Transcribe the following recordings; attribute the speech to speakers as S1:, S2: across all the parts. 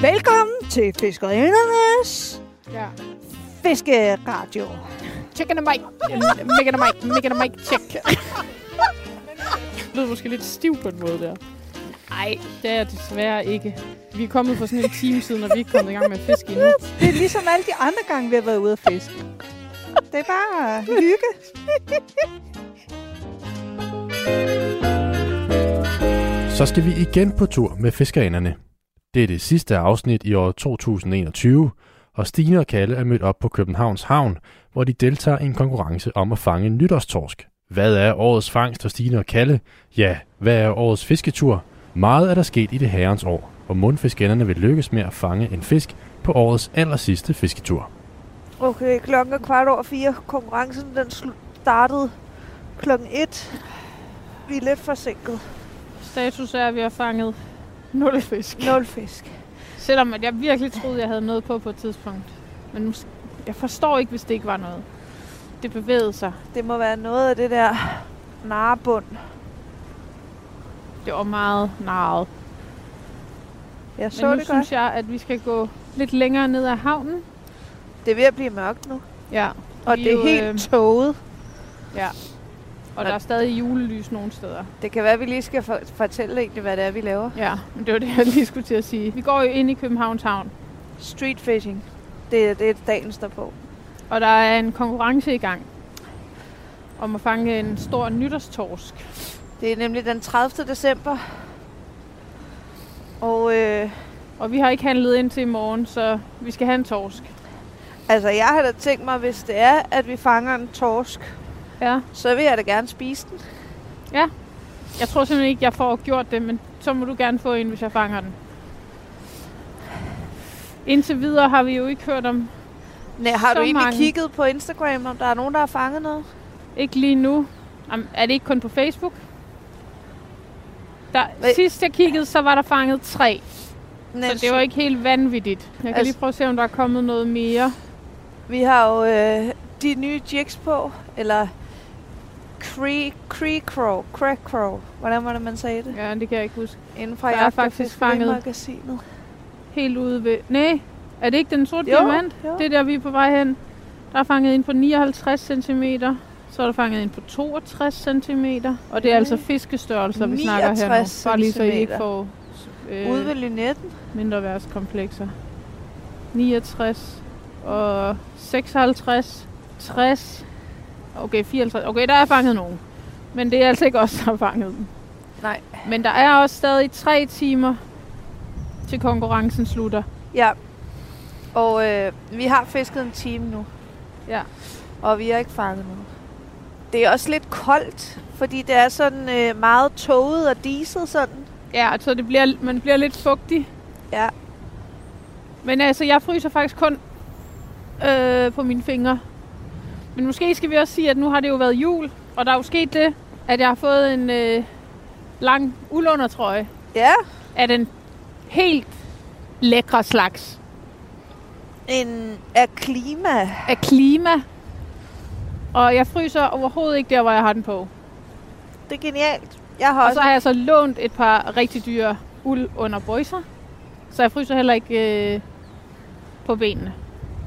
S1: Velkommen til Fiskerindernes
S2: Ja.
S1: Fiskeradio.
S2: Chicken and Mike. Mega and Mike. Mega and Mike. Check. Det lyder måske lidt stiv på en måde der. Nej, det er jeg desværre ikke. Vi er kommet for sådan en time siden, og vi er ikke kommet i gang med at fiske endnu.
S1: Det er ligesom alle de andre gange, vi har været ude at fiske. Det er bare hygge.
S3: Så skal vi igen på tur med fiskerinderne. Det er det sidste afsnit i år 2021, og Stine og Kalle er mødt op på Københavns Havn, hvor de deltager i en konkurrence om at fange nytårstorsk. Hvad er årets fangst for Stine og Kalle? Ja, hvad er årets fisketur? Meget er der sket i det herrens år, hvor mundfiskenderne vil lykkes med at fange en fisk på årets aller sidste fisketur.
S4: Okay, klokken er kvart over fire. Konkurrencen den slu- startede klokken et. Vi er lidt forsinket.
S2: Status er, at vi har fanget 0 fisk.
S4: Nul fisk.
S2: Selvom at jeg virkelig troede, jeg havde noget på på et tidspunkt. Men mås- jeg forstår ikke, hvis det ikke var noget. Det bevægede sig.
S4: Det må være noget af det der narebund.
S2: Det var meget narret.
S4: Jeg
S2: Men
S4: så
S2: nu
S4: det godt.
S2: synes jeg, at vi skal gå lidt længere ned ad havnen.
S4: Det er ved at blive mørkt nu.
S2: Ja,
S4: Og
S2: Vi
S4: det
S2: er
S4: er
S2: jo,
S4: helt
S2: øhm,
S4: tåget.
S2: og der er stadig julelys nogle steder.
S4: Det kan være, at vi lige skal for- fortælle egentlig, hvad det er, vi laver.
S2: Ja, men det var det, jeg lige skulle til at sige. Vi går jo ind i Københavns Havn,
S4: Street fishing. Det, er- det er dagen står på.
S2: og der er en konkurrence i gang om at fange en stor nytårstorsk.
S4: Det er nemlig den 30. december. Og øh,
S2: Og vi har ikke handlet ind til i morgen, så vi skal have en torsk.
S4: altså, jeg har da tænkt mig, hvis det er, at vi fanger en torsk,
S2: Ja,
S4: så vil jeg da gerne spise den.
S2: jeg tror simpelthen ikke, jeg får gjort det, men så må du gerne få en, hvis jeg fanger den. Indtil videre har vi jo ikke hørt om,
S4: Næ, har
S2: Så
S4: du egentlig
S2: mange.
S4: kigget på Instagram, om der er nogen, der har fanget noget?
S2: ikke lige nu. Jamen, er det ikke kun på Facebook? Der,
S4: Hvad?
S2: sidst jeg kiggede, så var der fanget tre.
S4: Men
S2: Så det var ikke helt vanvittigt. Jeg kan
S4: Altså-
S2: lige prøve at se, om der er kommet noget mere.
S4: Vi har jo øh, de nye jigs på, eller Cree, Cree Crow, Cree Crow, hvordan var det, man sagde det?
S2: Ja, det kan jeg ikke huske.
S4: Inden fra
S2: Der er
S4: Jagt- og
S2: faktisk fanget.
S4: Fiskerimagasinet.
S2: Helt ude ved... Nej, er det ikke den sorte
S4: Jo,
S2: diamant?
S4: jo.
S2: Det er der, vi er på vej hen. Der er fanget ind på 59 cm. Så er der fanget ind på 62 cm. Og det er
S4: Okay.
S2: altså fiskestørrelser, vi snakker her nu.
S4: 69
S2: Bare lige så I ikke
S4: centimeter.
S2: får
S4: Ude ved
S2: øh,
S4: Lynetten.
S2: mindreværdskomplekser. 69 og 56, 60, okay 54. Okay, der er fanget nogen. Men det er altså ikke os, der har fanget dem.
S4: Nej.
S2: Men der er også stadig tre timer til konkurrencen slutter.
S4: Ja. Og øh, vi har fisket en time nu.
S2: Ja.
S4: Og vi har ikke fanget noget. Det er også lidt koldt, fordi det er sådan øh, meget tåget og diset sådan.
S2: Ja, så det bliver, man bliver lidt fugtig.
S4: Ja.
S2: Men altså, jeg fryser faktisk kun øh, på mine fingre. Men måske skal vi også sige, at nu har det jo været jul, og der er jo sket det, at jeg har fået en øh, lang ulundertrøje
S4: Ja,
S2: af den helt lækre slags
S4: en af klima.
S2: af klima. Og jeg fryser overhovedet ikke der, hvor jeg har den på.
S4: Det er genialt. Jeg har
S2: Og
S4: også
S2: så har jeg så lånt et par rigtig dyre uld under bøjser. Så jeg fryser heller ikke øh, på benene.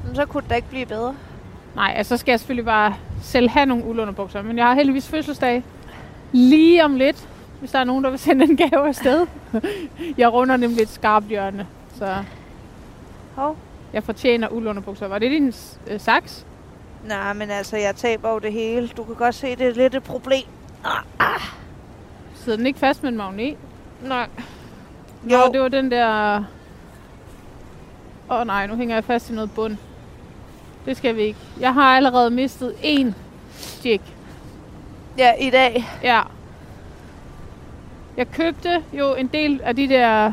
S4: Men så kunne det da ikke blive bedre.
S2: Nej, altså så skal jeg selvfølgelig bare selv have nogle uld under bukser. Men jeg har heldigvis fødselsdag lige om lidt, hvis der er nogen, der vil sende en gave afsted. jeg runder nemlig et skarpt hjørne, så
S4: Hov.
S2: jeg fortjener uld under bukser. Var det din øh, saks?
S4: Nej, men altså, jeg taber jo det hele. Du kan godt se, det er lidt et problem.
S2: Sidder den ikke fast med en magnet?
S4: Nej.
S2: Jo.
S4: Jo,
S2: Nå, det var den der... Åh oh, nej, nu hænger jeg fast i noget bund. Det skal vi ikke. Jeg har allerede mistet én jig.
S4: ja, i dag.
S2: Ja. Jeg købte jo en del af de der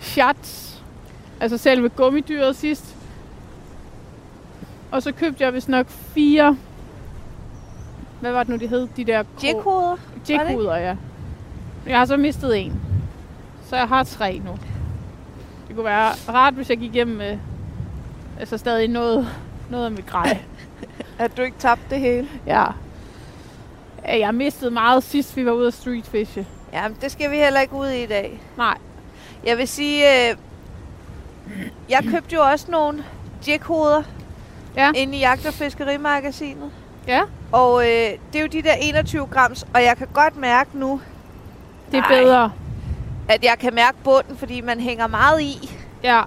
S2: shots, altså selve gummidyret sidst. Og så købte jeg vist nok fire, hvad var det nu, de hed? De der kro-
S4: Jighoveder.
S2: jighuder, ja. Jeg har så mistet en. Så jeg har tre nu. Det kunne være rart, hvis jeg gik hjem med altså stadig noget, noget af mit grej.
S4: At du ikke tabte det hele.
S2: Ja. Øh, Jeg mistede meget sidst, vi var ude at streetfishe.
S4: Jamen, det skal vi heller ikke ud i i dag.
S2: Nej.
S4: Jeg vil sige, øh, Jeg købte jo også nogle jækhoveder
S2: Ja.
S4: inde i Jagt- og Fiskerimagasinet.
S2: Ja.
S4: Og øh, det er jo de der 21 grams, og jeg kan godt mærke nu,
S2: Det er
S4: Ej.
S2: bedre.
S4: at jeg kan mærke bunden, fordi man hænger meget i.
S2: Ja.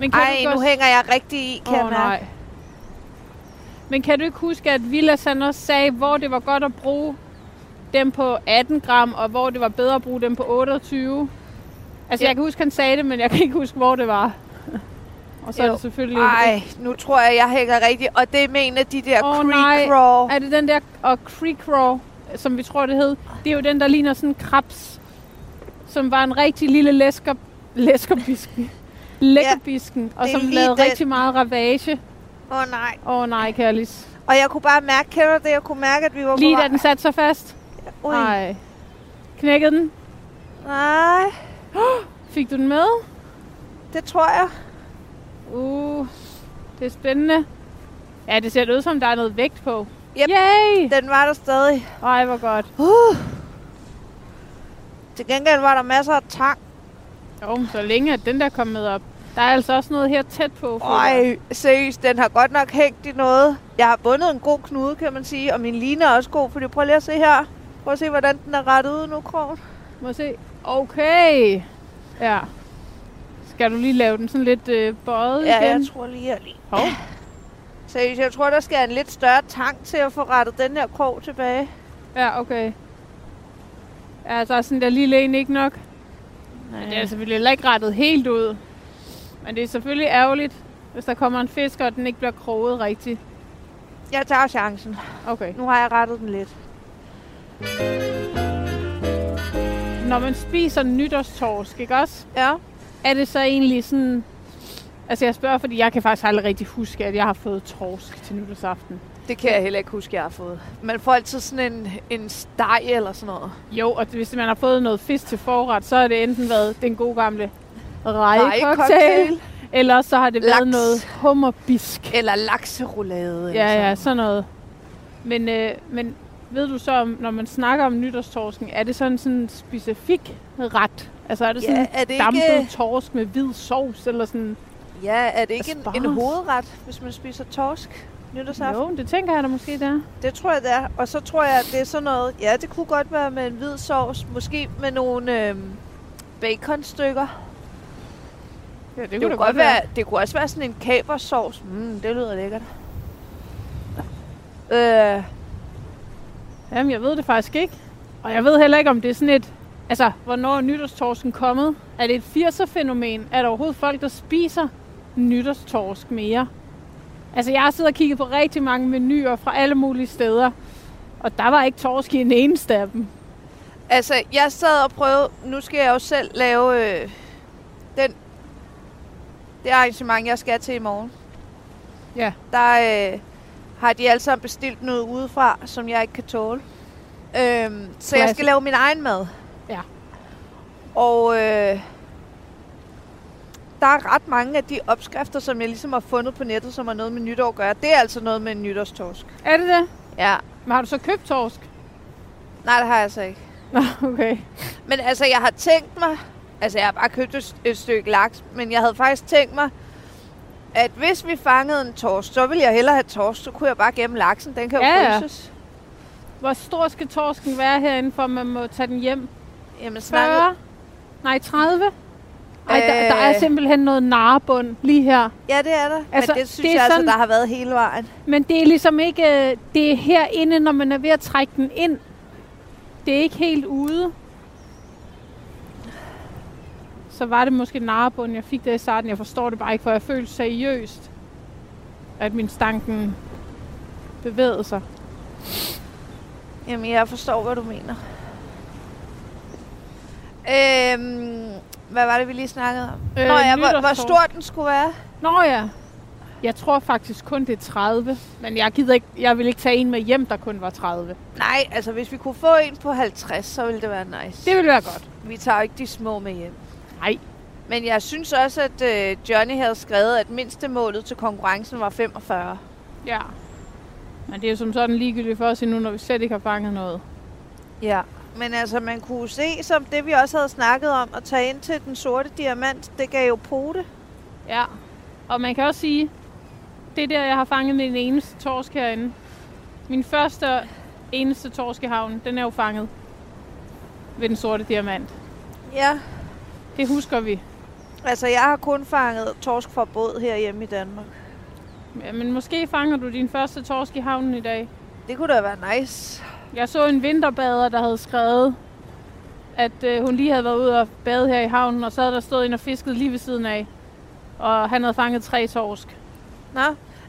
S2: Men kan du
S4: Ej,
S2: ikke
S4: nu
S2: også...
S4: hænger jeg rigtig i, kan
S2: Åh,
S4: jeg mærke.
S2: nej. Men kan du ikke huske, at Vilas han også sagde, hvor det var godt at bruge dem på 18 gram, og hvor det var bedre at bruge dem på 28? Altså,
S4: Ja.
S2: jeg kan huske, han sagde det, men jeg kan ikke huske, hvor det var. Og så er
S4: Jo.
S2: det selvfølgelig...
S4: Ej, nu tror jeg, jeg hænger rigtig. Og det er med en af de der
S2: Åh,
S4: oh,
S2: nej.
S4: creek raw.
S2: Er det den der og Creek Raw, som vi tror, det hed? Det er jo den, der ligner sådan en krebs, som var en rigtig lille læsker, læskerbisken. Lækkerbisken, ja, og
S4: det er
S2: som
S4: lige
S2: lavede
S4: den.
S2: rigtig meget ravage.
S4: Åh oh, nej.
S2: Åh oh, nej, Kærlis.
S4: Og jeg kunne bare mærke, kender du det? Jeg kunne mærke, at vi var
S2: Lige
S4: på
S2: da den satte sig fast.
S4: Ui.
S2: Nej. Knækkede den?
S4: Nej,
S2: Fik du den med?
S4: det tror jeg.
S2: Uh, det er spændende. Ja, det ser ud som, der er noget vægt på.
S4: Yep.
S2: Yay!
S4: Den var der stadig.
S2: Ej, hvor godt.
S4: Uh. Til gengæld var der masser af tang.
S2: Jo, men så længe at den der kom med op. Der er altså også noget her tæt på. føler jeg.
S4: Ej, seriøst, den har godt nok hængt i noget. Jeg har bundet en god knude, kan man sige. Og min line er også god, fordi prøv lige at se her. Prøv at se, hvordan den er rettet ud nu, krogen.
S2: Må jeg se. Okay. Ja. Skal du lige lave den sådan lidt øh, bøjet
S4: Ja,
S2: igen?
S4: jeg tror lige, jeg lige.
S2: Hov.
S4: Seriøst, jeg tror, der skal en lidt større tank til at få rettet den her krog tilbage.
S2: Ja, okay. Ja, så er sådan der lille en ikke nok.
S4: Nej.
S2: Men det er selvfølgelig heller ikke rettet helt ud. Men det er selvfølgelig ærgerligt, hvis der kommer en fisk, og den ikke bliver kroget rigtigt.
S4: Jeg tager chancen.
S2: Okay.
S4: Nu har jeg rettet den lidt.
S2: Når man spiser nytårstorsk, ikke også?
S4: Ja.
S2: Er det så egentlig sådan... Altså jeg spørger, fordi jeg kan faktisk aldrig rigtig huske, at jeg har fået torsk til nytårsaften.
S4: Det kan jeg heller ikke huske, jeg har fået. Man får altid sådan en, en steg eller sådan noget.
S2: Jo, og hvis man har fået noget fisk til forret, så har det enten været den gode gamle rejecocktail, eller så har det
S4: Laks.
S2: været noget hummerbisk.
S4: Eller lakseroulade. eller
S2: Ja, ja,
S4: sådan
S2: sådan noget. Men, øh, men ved du så, om, når man snakker om nytårstorsken, er det sådan sådan en specifik ret? Altså er det sådan
S4: noget.
S2: ja,
S4: Ja, er det
S2: dampet
S4: ikke,
S2: torsk med hvid sovs, eller sådan?
S4: ja, er det ikke en, en
S2: Asparges?
S4: hovedret, hvis man spiser torsk nytårsaften?
S2: Jo, det tænker jeg da måske, der.
S4: Det tror jeg, det er. Og så tror jeg, at det er sådan noget... Ja, det kunne godt være med en hvid sovs. Måske med nogle øhm, baconstykker.
S2: Ja, det
S4: Det kunne, godt være, det kunne også være sådan en kabersovs. Mm, det lyder lækkert. Øh,
S2: Jamen, jeg ved det faktisk ikke. Og jeg ved heller ikke, om det er sådan et... Altså, hvornår er nytårstorsken kommet? Er det et 80'er-fænomen? Er der overhovedet folk, der spiser nytårstorsk mere? Altså, jeg har siddet og kigget på rigtig mange menuer fra alle mulige steder. Og der var ikke torsk i en eneste af dem.
S4: altså, jeg sad og prøvede... Nu skal jeg jo selv lave øh, den, det arrangement, jeg skal til i morgen.
S2: Ja.
S4: Der øh, har de alle sammen bestilt noget udefra, som jeg ikke kan tåle. Øhm, så jeg
S2: Classic.
S4: skal lave min egen mad.
S2: Ja.
S4: Og øh, der er ret mange af de opskrifter, som jeg ligesom har fundet på nettet, som har noget med nytår at gøre. Det er altså noget med en nytårstorsk.
S2: Er det det?
S4: Ja.
S2: Men har du så købt torsk?
S4: Nej, det har jeg altså ikke.
S2: Nå, okay.
S4: Men altså, jeg har tænkt mig... Altså, jeg har bare købt et, et stykke laks, men jeg havde faktisk tænkt mig, at hvis vi fangede en torsk, så ville jeg hellere have torsk. Så kunne jeg bare gemme laksen. Den kan jo
S2: Ja, ja.
S4: fryses.
S2: Hvor stor skal torsken være herinde, for at man må tage den hjem?
S4: Jamen, snakkede...
S2: 40? Nej, 30? Ej, der, der
S4: Øh.
S2: er simpelthen noget narebund lige her.
S4: Ja, det er der. Altså,
S2: Altså,
S4: men det synes
S2: det
S4: det
S2: er
S4: jeg sådan...
S2: sådan-
S4: altså, der har været hele vejen.
S2: Men det er ligesom ikke... øh, Det er herinde, når man er ved at trække den ind. Det er ikke helt ude. Så var det måske narebunden, jeg fik det i starten. Jeg forstår det bare ikke, for jeg følte seriøst, at min stanken bevægede sig.
S4: Jamen, jeg forstår, hvad du mener. Øhm, hvad var det, vi lige snakkede om? Øh, Nå ja, hvor, hvor
S2: nytårstorsk.
S4: stor den skulle være.
S2: Nå ja. Jeg tror faktisk kun, det er 30. Men jeg, gider ikke, jeg vil ikke tage en med hjem, der kun var 30.
S4: Nej, altså hvis vi kunne få en på 50, så ville det være nice.
S2: Det ville være godt.
S4: Vi tager jo ikke de små med hjem.
S2: Nej.
S4: Men jeg synes også, at øh, Johnny havde skrevet, at mindstemålet til konkurrencen var 45.
S2: Ja. Men det er jo som sådan ligegyldigt for os endnu, når vi slet ikke har fanget noget.
S4: Ja. Men altså, man kunne jo se, som det vi også havde snakket om, at tage ind til den sorte diamant, det gav jo pote.
S2: Ja, og man kan også sige, det er der, jeg har fanget min eneste torsk herinde. Min første og eneste torskehavn, den er jo fanget ved den sorte diamant.
S4: Ja,
S2: Det husker vi.
S4: altså jeg har kun fanget torsk fra båd herhjemme i Danmark.
S2: Ja, Men måske fanger du din første torsk i havnen i dag.
S4: Det kunne da være nice.
S2: Jeg så en vinterbader, der havde skrevet, at øh, hun lige havde været ude og bade her i havnen, og så havde der stået en og fisket lige ved siden af. Og han havde fanget tre torsk.
S4: Nå,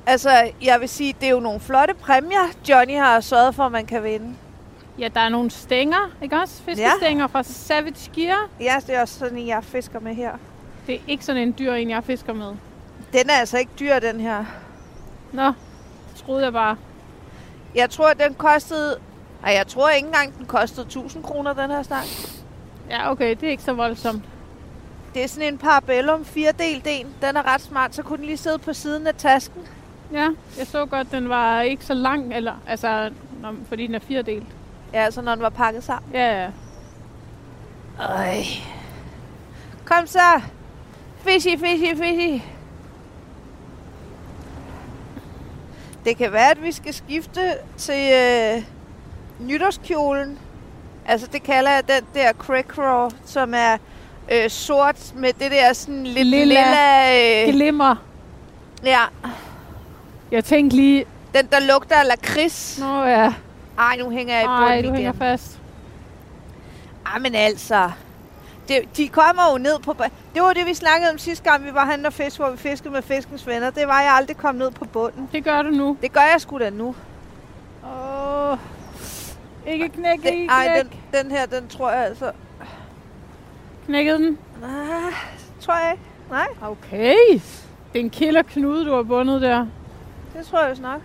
S4: altså jeg vil sige, det er jo nogle flotte præmier, Johnny har sørget for, at man kan vinde.
S2: Ja, der er nogle stænger, ikke også? Fiskestænger ja. fra Savage Gear.
S4: Ja, det er også sådan, en, jeg fisker med her.
S2: Det er ikke sådan en dyr, en jeg fisker med.
S4: Den er altså ikke dyr, den her.
S2: Nå, det troede jeg bare.
S4: Jeg tror, den kostede... Ej, jeg tror ikke engang, den kostede 1000 kroner, den her stang.
S2: Ja, okay, det er ikke så voldsomt.
S4: Det er sådan en parabellum, firedelt en. Den er ret smart, så kunne den lige sidde på siden af tasken.
S2: Ja, jeg så godt, den var ikke så lang, eller, altså, nå, fordi den er firedelt.
S4: Ja, altså når den var pakket sammen.
S2: Ja, ja.
S4: Øj. Kom så. Fishy, fishy, fishy. Det kan være, at vi skal skifte til øh, nytårskjolen. Altså det kalder jeg den der crackcraw, som er øh, sort med det der sådan lidt
S2: Lilla.
S4: lilla... lilla øh,
S2: Glimmer.
S4: ja,
S2: Jeg tænkte lige,
S4: den der lugter af lakrids.
S2: nå ja,
S4: Ej, nu hænger jeg i bunden
S2: nej,
S4: igen.
S2: du hænger fast.
S4: Ej, men altså. Det, de kommer jo ned på... ba- Det var det, vi snakkede om sidste gang, vi var henne og fisk, hvor vi fiskede med fiskens venner. Det var, at jeg aldrig kom ned på bunden.
S2: Det gør du nu.
S4: Det gør jeg sgu da nu.
S2: Åh, ikke knæk, ikke
S4: Det, ej,
S2: knæk.
S4: den, den her, den tror jeg altså...
S2: Knækkede den?
S4: Ah, tror jeg ikke. Nej,
S2: Okay. Det er en killerknude, du har bundet der.
S4: det tror jeg vist nok.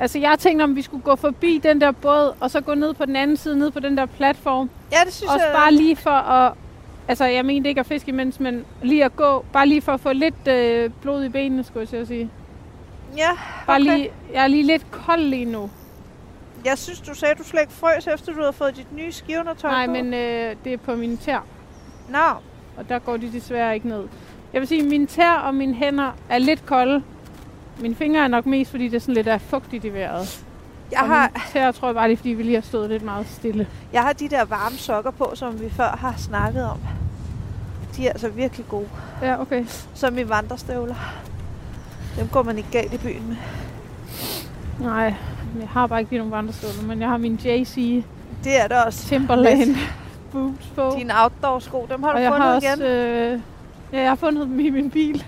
S2: Altså, jeg tænkte, om vi skulle gå forbi den der båd, og så gå ned på den anden side, ned på den der platform.
S4: Ja, det synes øh,
S2: Også
S4: jeg...
S2: bare lige for at... Altså, jeg mente ikke at fiske imens, men lige at gå. Bare lige for at få lidt øh, blod i benene, skulle jeg til at sige.
S4: Ja,
S2: Bare
S4: okay.
S2: lige, jeg er lige lidt kold lige nu.
S4: Jeg synes, du sagde, du slet ikke frøs, efter du havde fået dit nye skivnertøj
S2: Nej,
S4: på.
S2: men øh, det er på mine tær,
S4: Nå,
S2: og der går de desværre ikke ned. Jeg vil sige, at mine tær og mine hænder er lidt kolde. Mine fingre er nok mest, fordi det er sådan lidt er fugtigt i vejret.
S4: jeg
S2: og
S4: har,
S2: mine tæer tror jeg bare, det er, fordi vi lige har stået lidt meget stille.
S4: jeg har de der varme sokker på, som vi før har snakket om. De er altså virkelig gode.
S2: Ja, okay.
S4: Som i vandrestøvler. Dem går man ikke galt i byen med.
S2: Nej, men jeg har bare ikke lige nogen vandrestøvler, men jeg har min JC
S4: Det er der også.
S2: Timberland boots på.
S4: Dine outdoor-sko, dem har du
S2: og jeg
S4: fundet
S2: har
S4: igen.
S2: også, øh, ja, jeg har fundet dem i min bil.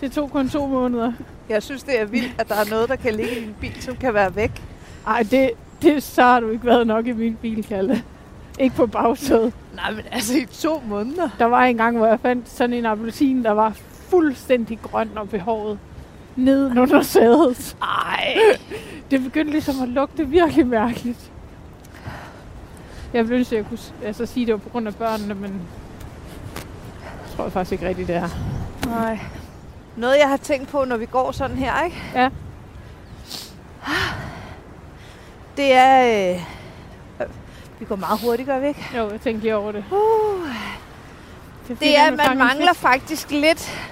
S2: Det tog kun to måneder.
S4: Jeg synes, det er vildt, at der er noget, der kan ligge i din bil, som kan være væk.
S2: Ej, det, det, så har du ikke været nok i min bil, Kalle. Ikke på bagsædet.
S4: Nej, men altså i to måneder.
S2: Der var en gang, hvor jeg fandt sådan en appelsin, der var fuldstændig grøn og behåret. Neden under sædet.
S4: Ej.
S2: Det begyndte ligesom at lugte virkelig mærkeligt. Jeg ville ønske, at jeg kunne s- altså, sige, at det var på grund af børnene, men det tror jeg faktisk ikke rigtigt, det er.
S4: Nej. Noget, jeg har tænkt på, når vi går sådan her, ikke?
S2: Ja.
S4: Det er... Øh, øh, vi går meget hurtigt, gør vi ikke?
S2: Jo, jeg tænkte lige over det.
S4: Uh,
S2: Det er, fordi,
S4: Det er,
S2: når
S4: at man
S2: fanger en
S4: mangler
S2: fisk-
S4: faktisk lidt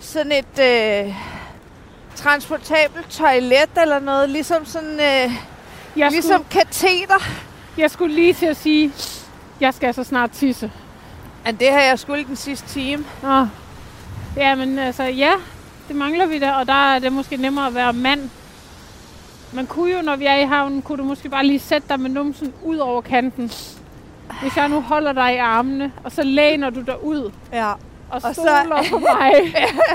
S4: sådan et øh, transportabelt toilet eller noget, ligesom sådan, øh,
S2: Jeg skulle-
S4: ligesom kateter.
S2: Jeg skulle lige til at sige, jeg skal så snart tisse.
S4: Men det har jeg skulle den sidste time.
S2: Nå. Ja, men altså, ja, det mangler vi da, og der er det måske nemmere at være mand. Man kunne jo, når vi er i havnen, kunne du måske bare lige sætte dig med numsen ud over kanten. Hvis jeg nu holder dig i armene, og så læner du dig ud
S4: Ja.
S2: og,
S4: så-
S2: og stoler på mig,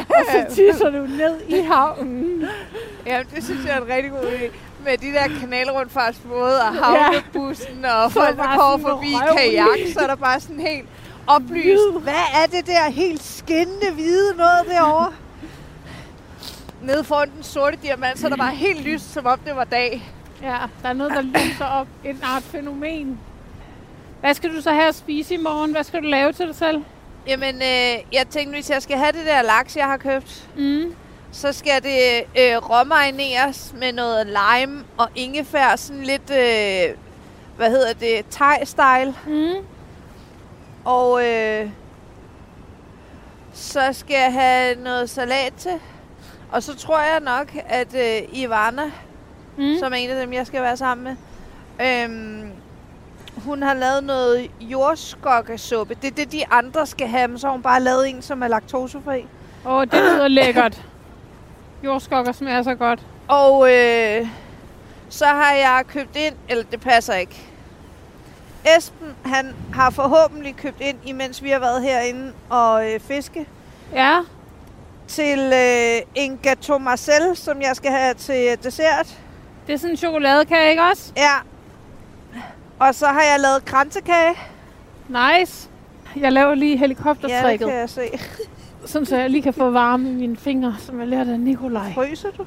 S2: og så tisser du ned i havnen.
S4: ja, det synes jeg er en rigtig god idé. Med de der kanalrundfartsbåde og havnebussen og
S2: Så
S4: folk, der
S2: bare
S4: kommer
S2: sådan
S4: forbi i
S2: noget røv.
S4: kajak, så er der bare sådan helt oplyst.
S2: Hvid.
S4: Hvad er det der helt skinnende hvide noget derovre? Nede foran den sorte diamant, så er der bare helt lyst, som om det var dag.
S2: Ja, der er noget, der lyser op. En art fænomen. Hvad skal du så have at spise i morgen? Hvad skal du lave til dig selv?
S4: Jamen, øh, jeg tænkte, hvis jeg skal have det der laks, jeg har købt,
S2: Mm.
S4: så skal det øh, råmarineres med noget lime og ingefær, sådan lidt, øh, hvad hedder det, thai-style.
S2: Mm.
S4: Og øh, Så skal jeg have noget salat til. Og så tror jeg nok, at øh, Ivana, mm. som er en af dem, jeg skal være sammen med, øhm, hun har lavet noget jordskokkesuppe. Det er det, de andre skal have, men så har hun bare lavet en, som er laktosefri.
S2: Åh, oh, det lyder lækkert. Jordskokker smager så godt.
S4: Og øh, så har jeg købt ind, eller det passer ikke. Esben, han har forhåbentlig købt ind, imens vi har været herinde og øh, fiske,
S2: Ja,
S4: til øh, en gâteau Marcel, som jeg skal have til øh, dessert.
S2: det er sådan en chokoladekage, ikke også?
S4: Ja. Og så har jeg lavet kransekage.
S2: Nice. Jeg laver lige
S4: Ja, det
S2: helikoptertrækket,
S4: kan
S2: ja,
S4: jeg se.
S2: sådan så jeg lige kan få varme i mine fingre, som jeg lærte af Nikolaj.
S4: Fryser du?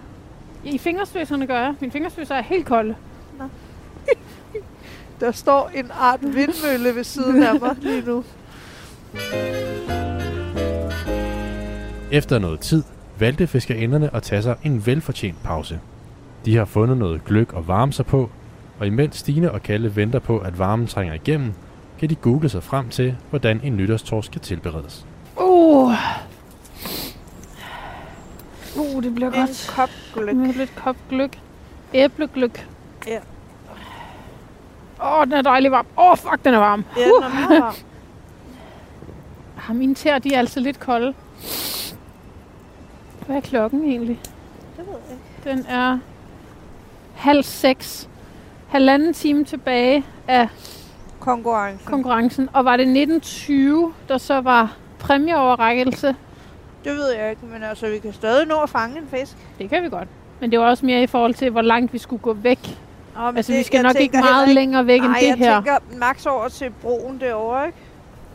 S2: I fingerspødserne gør jeg. Mine fingerspødser er helt kolde.
S4: Der står en art vindmølle ved siden af mig lige nu.
S3: Efter noget tid valgte fiskerinderne at tage sig en velfortjent pause. De har fundet noget gløk at varme sig på, og imens Stine og Kalle venter på, at varmen trænger igennem, kan de google sig frem til, hvordan en nytårstorsk skal tilberedes.
S2: Uh. Uh, det bliver
S4: En
S2: godt. Uh.
S4: kop gløk.
S2: Med lidt kop gløk. Æblegløk.
S4: Ja.
S2: Åh, oh, den er dejlig varm. Åh, oh, fuck, den er varm.
S4: Ja, den er meget varm.
S2: Ah, mine tæer, de er altså lidt kolde. Hvad er klokken egentlig?
S4: Det ved jeg ikke.
S2: Den er halv seks. Halvanden time tilbage af
S4: Konkurrence.
S2: konkurrencen. Og var det 1920, der så var præmieoverrækkelse?
S4: det ved jeg ikke, men altså, vi kan stadig nå at fange en fisk.
S2: Det kan vi godt. Men det var også mere i forhold til, hvor langt vi skulle gå væk.
S4: Nå, men
S2: Altså,
S4: det-
S2: vi skal
S4: jeg
S2: nok ikke
S4: tænker
S2: meget
S4: heller
S2: længere væk end
S4: Nej,
S2: det
S4: jeg
S2: her.
S4: tænker max over til broen derovre, ikke?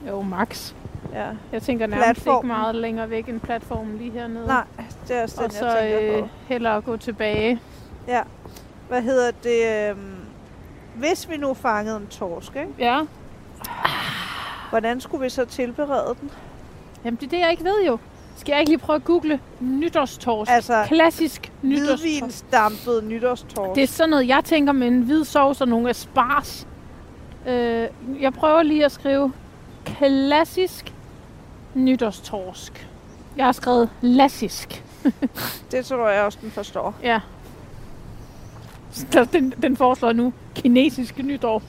S2: Jo, max.
S4: Ja.
S2: Jeg tænker nærmest ikke
S4: Platformen.
S2: meget længere væk end platformen lige hernede.
S4: Nej, det er også den,
S2: og så
S4: jeg tænker
S2: øh,
S4: på.
S2: hellere gå tilbage.
S4: Hvad hedder det? øhm, Hvis vi nu fangede en torsk, ikke?
S2: Ja.
S4: hvordan skulle vi så tilberede den?
S2: Jamen, det er det, jeg ikke ved jo. Skal jeg ikke lige prøve at google nytårstorsk?
S4: Altså,
S2: Klassisk nytårstorsk.
S4: hvidvinsdampet nytårstorsk.
S2: Det er sådan noget, jeg tænker med en hvid sovs og nogle asparges. Øh, jeg prøver lige at skrive klassisk nytårstorsk. Jeg har skrevet lassisk.
S4: det tror jeg også, den forstår.
S2: Ja. Så Den, den foreslår nu kinesiske nytår.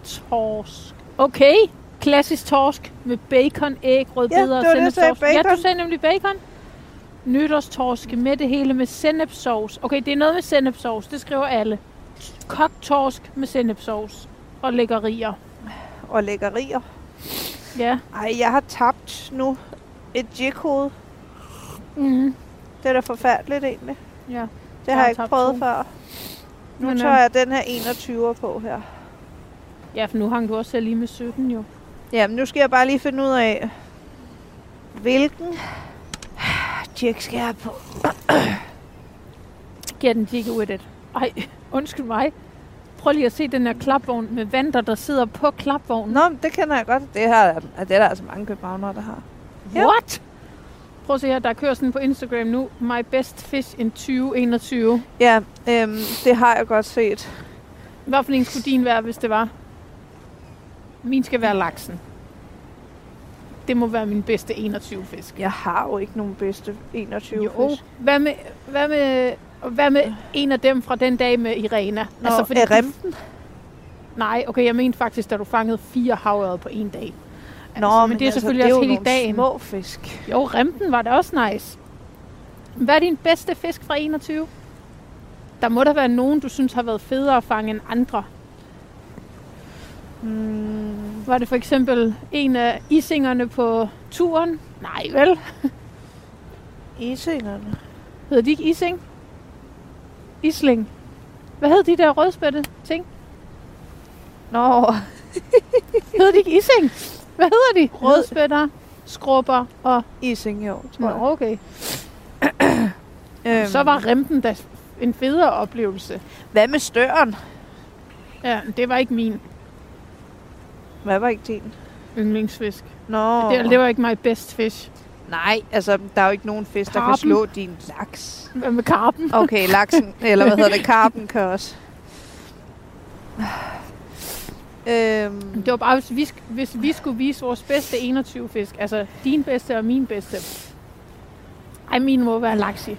S2: Nytårstorsk. Okay. Klassisk torsk med bacon, æg, rødbeder
S4: Ja, det
S2: og
S4: var det, jeg sagde,
S2: sennepsovs. Ja,
S4: bacon.
S2: du sagde nemlig bacon. Nytårstorske med det hele med sennepsovs. Okay, det er noget med sennepsovs. Det skriver alle. Kogt torsk med sennepsovs og lækkerier.
S4: Og lækkerier.
S2: Ja.
S4: Ej, jeg har tabt nu et jighoved. Mhm.
S2: Mm-hmm.
S4: Det er da forfærdeligt egentlig.
S2: Ja.
S4: Det har
S2: Jeg har
S4: jeg ikke
S2: tabt
S4: prøvet
S2: to.
S4: før. Nu
S2: Men,
S4: tager
S2: øh,
S4: jeg den her 21 på her.
S2: ja, for nu hang du også selv lige med 17 jo.
S4: Jamen, nu skal jeg bare lige finde ud af, hvilken jig skal jeg have på.
S2: Giver den ikke ud det. Ej, undskyld mig. Prøv lige at se den her klapvogn med vanter, der sidder på klapvognen.
S4: Nå, men det kender jeg godt. Det, her, er- det er der altså mange københavnere, der har. ja.
S2: What? Prøv at se her, der kører sådan på Instagram nu. My best fish in 2021.
S4: Ja, øhm, det har jeg godt set.
S2: Hvad for en skulle din være, hvis det var? Min skal være laksen. Det må være min bedste 21 fisk.
S4: Jeg har jo ikke nogen bedste 21
S2: Jo.
S4: fisk.
S2: Hvad med, hvad med, og hvad med en af dem fra den dag med Irena?
S4: Nå, altså, fordi er rem?
S2: Nej, okay, jeg mente faktisk, da du fangede fire havørred på en dag.
S4: Nå,
S2: altså, men det er selvfølgelig
S4: det er
S2: også
S4: jo
S2: hele
S4: nogle
S2: dagen.
S4: små fisk.
S2: Jo, remten var da også nice. Hvad er din bedste fisk fra 21? Der må der være nogen, du synes har været federe at fange end andre.
S4: Mm,
S2: Var det for eksempel en af isingerne på turen? Nej vel?
S4: isingerne.
S2: Hed de ikke ising? Isling. Hvad hed de der rødspætte ting?
S4: Nå,
S2: Hed de ikke ising? Hvad hedder de? Rødspætter, skrubber og...
S4: ising jo, tror
S2: Nå,
S4: jeg.
S2: okay.
S4: Øhm,
S2: Så var remten da en federe oplevelse.
S4: Hvad med støren?
S2: Ja, det var ikke min
S4: Hvad var ikke din?
S2: yndlingsfisk.
S4: Nå,
S2: Det, det var ikke my best fish.
S4: nej, altså, der er jo ikke nogen fisk, der kan
S2: Karpen.
S4: slå din laks.
S2: Hvad med karpen?
S4: Okay, laksen, eller hvad hedder det, karpen kan også. Øhm,
S2: Det var bare, hvis vi, sk- hvis vi skulle vise vores bedste 21 fisk. Altså din bedste og min bedste. Ej, min må være laksi.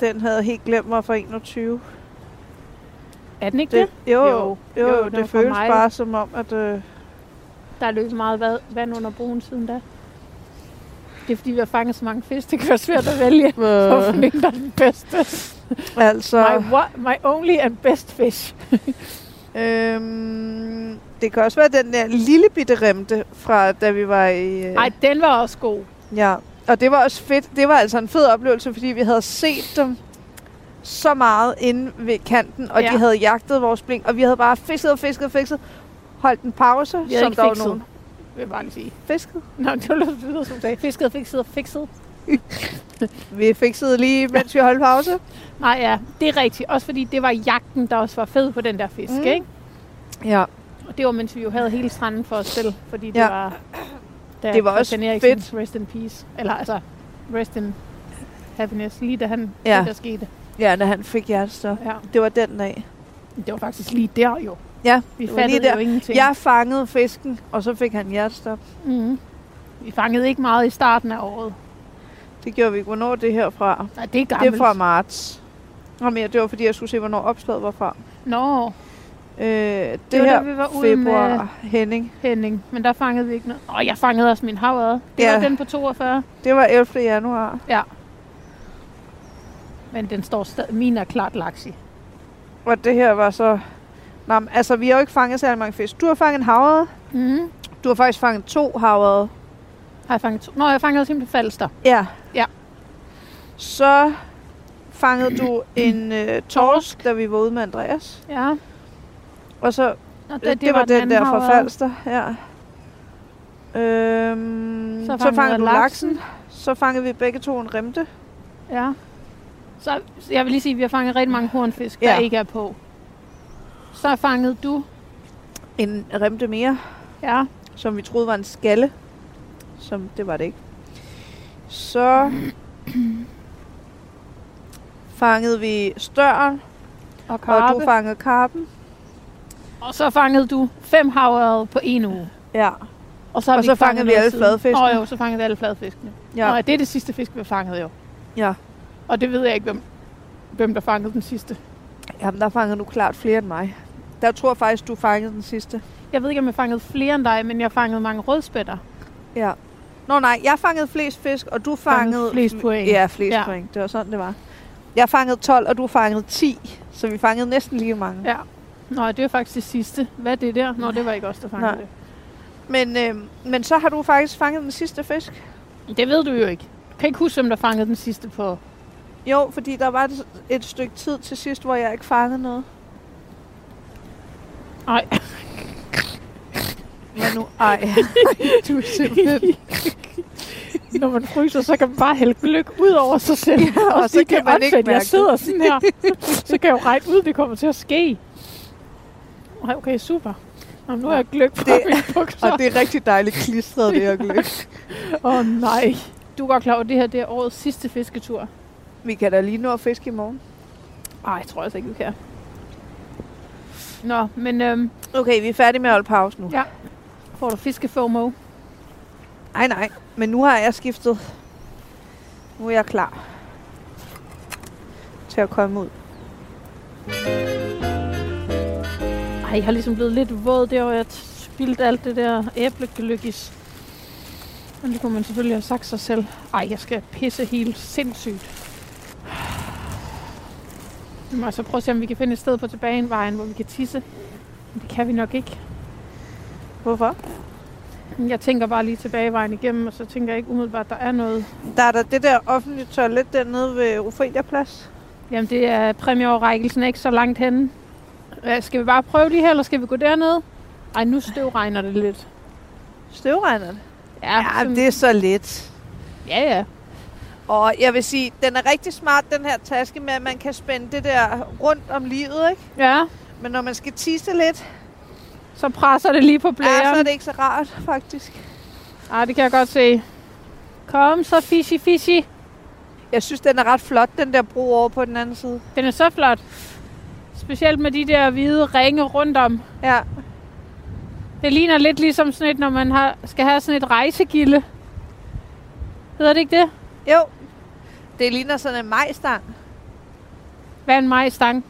S4: den havde helt glemt mig for 21.
S2: Er den ikke det?
S4: Det, jo,
S2: Jo.
S4: jo,
S2: Jo,
S4: jo, det,
S2: det var for
S4: det føles
S2: mig.
S4: bare som om, at... Øh,
S2: Der er løbet meget va- vand under broen siden da. Det er fordi, vi har fanget så mange fisk. Det kan være svært at vælge.
S4: Øh.
S2: Hvorfor ikke der er den bedste?
S4: altså,
S2: My, one, my only and best fish.
S4: øhm, det kan også være den der lille bitte remte, fra da vi var i... Øh,
S2: Ej, den var også god.
S4: Ja, og det var også fedt. Det var altså en fed oplevelse, fordi vi havde set dem så meget inde ved kanten, og
S2: Ja.
S4: ja. de havde jagtet vores blink, og vi havde bare fisket og fisket og fisket. Holdt en pause,
S2: Vi havde
S4: som
S2: ikke
S4: der var
S2: fikset.
S4: nogen
S2: Vil jeg bare lige sige.
S4: fisket.
S2: Nå, det var lidt videre, som du sagde. Fisket, fikset og fikset.
S4: Vi fiksede lige, mens vi holdt pause.
S2: Nej, ja, det er rigtigt. Også fordi det var jagten, der også var fed på den der fisk, mm.
S4: Mm.
S2: ikke?
S4: Ja,
S2: Og det var, mens vi jo havde hele stranden for os selv, fordi det
S4: Ja.
S2: var... Da
S4: Det var også
S2: Christian Eriksen,
S4: fedt.
S2: Rest in peace. Eller altså, rest in happiness, lige da han, ja.
S4: Ja.
S2: det der skete.
S4: ja da han fik hjertestop.
S2: Ja.
S4: Det var den dag.
S2: Det var faktisk lige der jo.
S4: Ja,
S2: Vi
S4: det var lige
S2: fattede
S4: der.
S2: jo ingenting.
S4: Jeg fangede fisken, og så fik han hjertestop.
S2: Mm. Vi fangede ikke meget i starten af året.
S4: Det gjorde vi ikke. Hvornår er det herfra?
S2: Nej, det er
S4: Det
S2: gammelt.
S4: er fra marts. Nå, men det var, fordi jeg skulle se, hvornår opslaget var fra.
S2: Nå,
S4: Øh, det,
S2: Det
S4: det
S2: var da
S4: her
S2: vi var ude
S4: februar, med... Henning.
S2: Henning. Men der fangede vi ikke noget. Åh, jeg fangede også min havørred. Det ja.
S4: Ja.
S2: var den på 42.
S4: Det var 11. januar.
S2: Men den står stadig. Min er klart laksi.
S4: Og det her var så... Nå, men, altså, vi har jo ikke fanget særlig mange fisk. Du har fanget en havre.
S2: Mm.
S4: Du har faktisk fanget to havre.
S2: Har jeg fanget to? Nå, jeg fangede simpelthen falster.
S4: Ja.
S2: Ja.
S4: Så fangede du en øh, torsk, da vi var ude med Andreas.
S2: Ja.
S4: Og så...
S2: Nå,
S4: Det, det, det var, den
S2: anden
S4: der fra
S2: havørred.
S4: Falster. Ja. Øhm,
S2: Så
S4: så, så
S2: fangede
S4: fangede
S2: du
S4: du
S2: laksen.
S4: laksen. Så fangede vi begge to en remte.
S2: Ja. Så så jeg vil lige sige, at vi har fanget rigtig mange hornfisk, der
S4: Ja.
S2: ikke er på. Så fangede du.
S4: En remte mere,
S2: Ja.
S4: som vi troede var en skalle. Som det var det ikke. Så fangede vi støren,
S2: Og
S4: Karpe. og
S2: karpe.
S4: du fangede karpen.
S2: Og så fangede du fem havørred på en uge.
S4: Ja.
S2: Og så, har
S4: Og
S2: vi
S4: så
S2: ikke fanget
S4: fangede vi
S2: noget
S4: alle
S2: siden.
S4: fladfiskene.
S2: Nå jo, så fangede vi alle fladfiskene. Ja.
S4: ja.
S2: Nå, ja, det er det sidste fisk, vi fangede jo.
S4: Ja.
S2: Og det ved jeg ikke, hvem, hvem der fangede den sidste.
S4: Jamen, der fangede du klart flere end mig. Der tror jeg faktisk, du fangede den sidste.
S2: Jeg ved ikke, om jeg fangede flere end dig, men jeg fangede mange rødspætter.
S4: Ja. Nå nej, jeg fangede flest fisk, og du
S2: Fangede
S4: fangede...
S2: flest point.
S4: Ja, flest
S2: Ja.
S4: ja. point. Det var sådan, det var. Jeg fangede 12, og du fangede 10. Så vi fangede næsten lige mange.
S2: Ja. Nå, det var faktisk det sidste. Hvad er det der? Nå, det var ikke os, der fangede
S4: Nej.
S2: det.
S4: Men, øh, men så har du faktisk fanget den sidste fisk.
S2: Det ved du jo ikke. Du kan ikke huske, hvem der fangede den sidste på.
S4: Jo, fordi der var et, et stykke tid til sidst, hvor jeg ikke fangede noget.
S2: Nej,
S4: Men nu, ej, du er simpelthen...
S2: når man fryser, så kan man bare hælde gløk ud over sig selv. Ja,
S4: og så kan man ikke mærke
S2: Jeg
S4: det.
S2: sidder sådan her, så kan jeg jo regne ud, det kommer til at ske. Ej, okay, super. Nå, nu har jeg gløk på det...
S4: Det-
S2: mine bukser.
S4: Og det er rigtig dejligt klistret, det her gløb.
S2: Åh oh, nej. Du er godt klar over, at det her det er årets sidste fisketur.
S4: Vi kan da lige nå at fiske i morgen.
S2: Ej, jeg tror altså ikke, vi kan. Nå, men øhm,
S4: Okay, vi er færdige med at holde pause nu.
S2: Ja. får du fiskefomo?
S4: Nej, nej. Men nu har jeg skiftet. Nu er jeg klar til at komme ud.
S2: Ej, jeg har ligesom blevet lidt våd der, hvor jeg t- spildte alt det der æblegløkkis. Men det kunne man selvfølgelig have sagt sig selv. Ej, jeg skal pisse helt sindssygt. Vi må så prøve at se, om vi kan finde et sted på tilbagevejen, hvor vi kan tisse. Men det kan vi nok ikke.
S4: Hvorfor?
S2: Jeg tænker bare lige tilbagevejen igennem, og så tænker jeg ikke umiddelbart, at der er noget.
S4: Der er der det der offentlige toilet dernede ved Ophelia Plads.
S2: Jamen, det er præmieoverrækkelsen er ikke så langt henne. Ja, Skal vi bare prøve lige her, eller skal vi gå derned? Ej, nu støvregner det lidt.
S4: Støvregneren.
S2: Ja, sådan-
S4: det er så let.
S2: ja, ja.
S4: Og jeg vil sige, den er rigtig smart, den her taske med, at man kan spænde det der rundt om livet, ikke?
S2: Ja,
S4: Men når man skal tisse lidt,
S2: så presser det lige på
S4: ja, så er
S2: blæren.
S4: det ikke så rart, faktisk.
S2: Ej, det kan jeg godt se. Kom så, fishy, fishy.
S4: Jeg synes, den er ret flot, den der bro over på den anden side.
S2: Den er så flot. Specielt med de der hvide ringe rundt om.
S4: Ja,
S2: Det ligner lidt ligesom sådan et, når man har, skal have sådan et rejsegilde. Hedder det ikke det?
S4: Jo, det ligner sådan en majstang,
S2: Hvad er en majstang?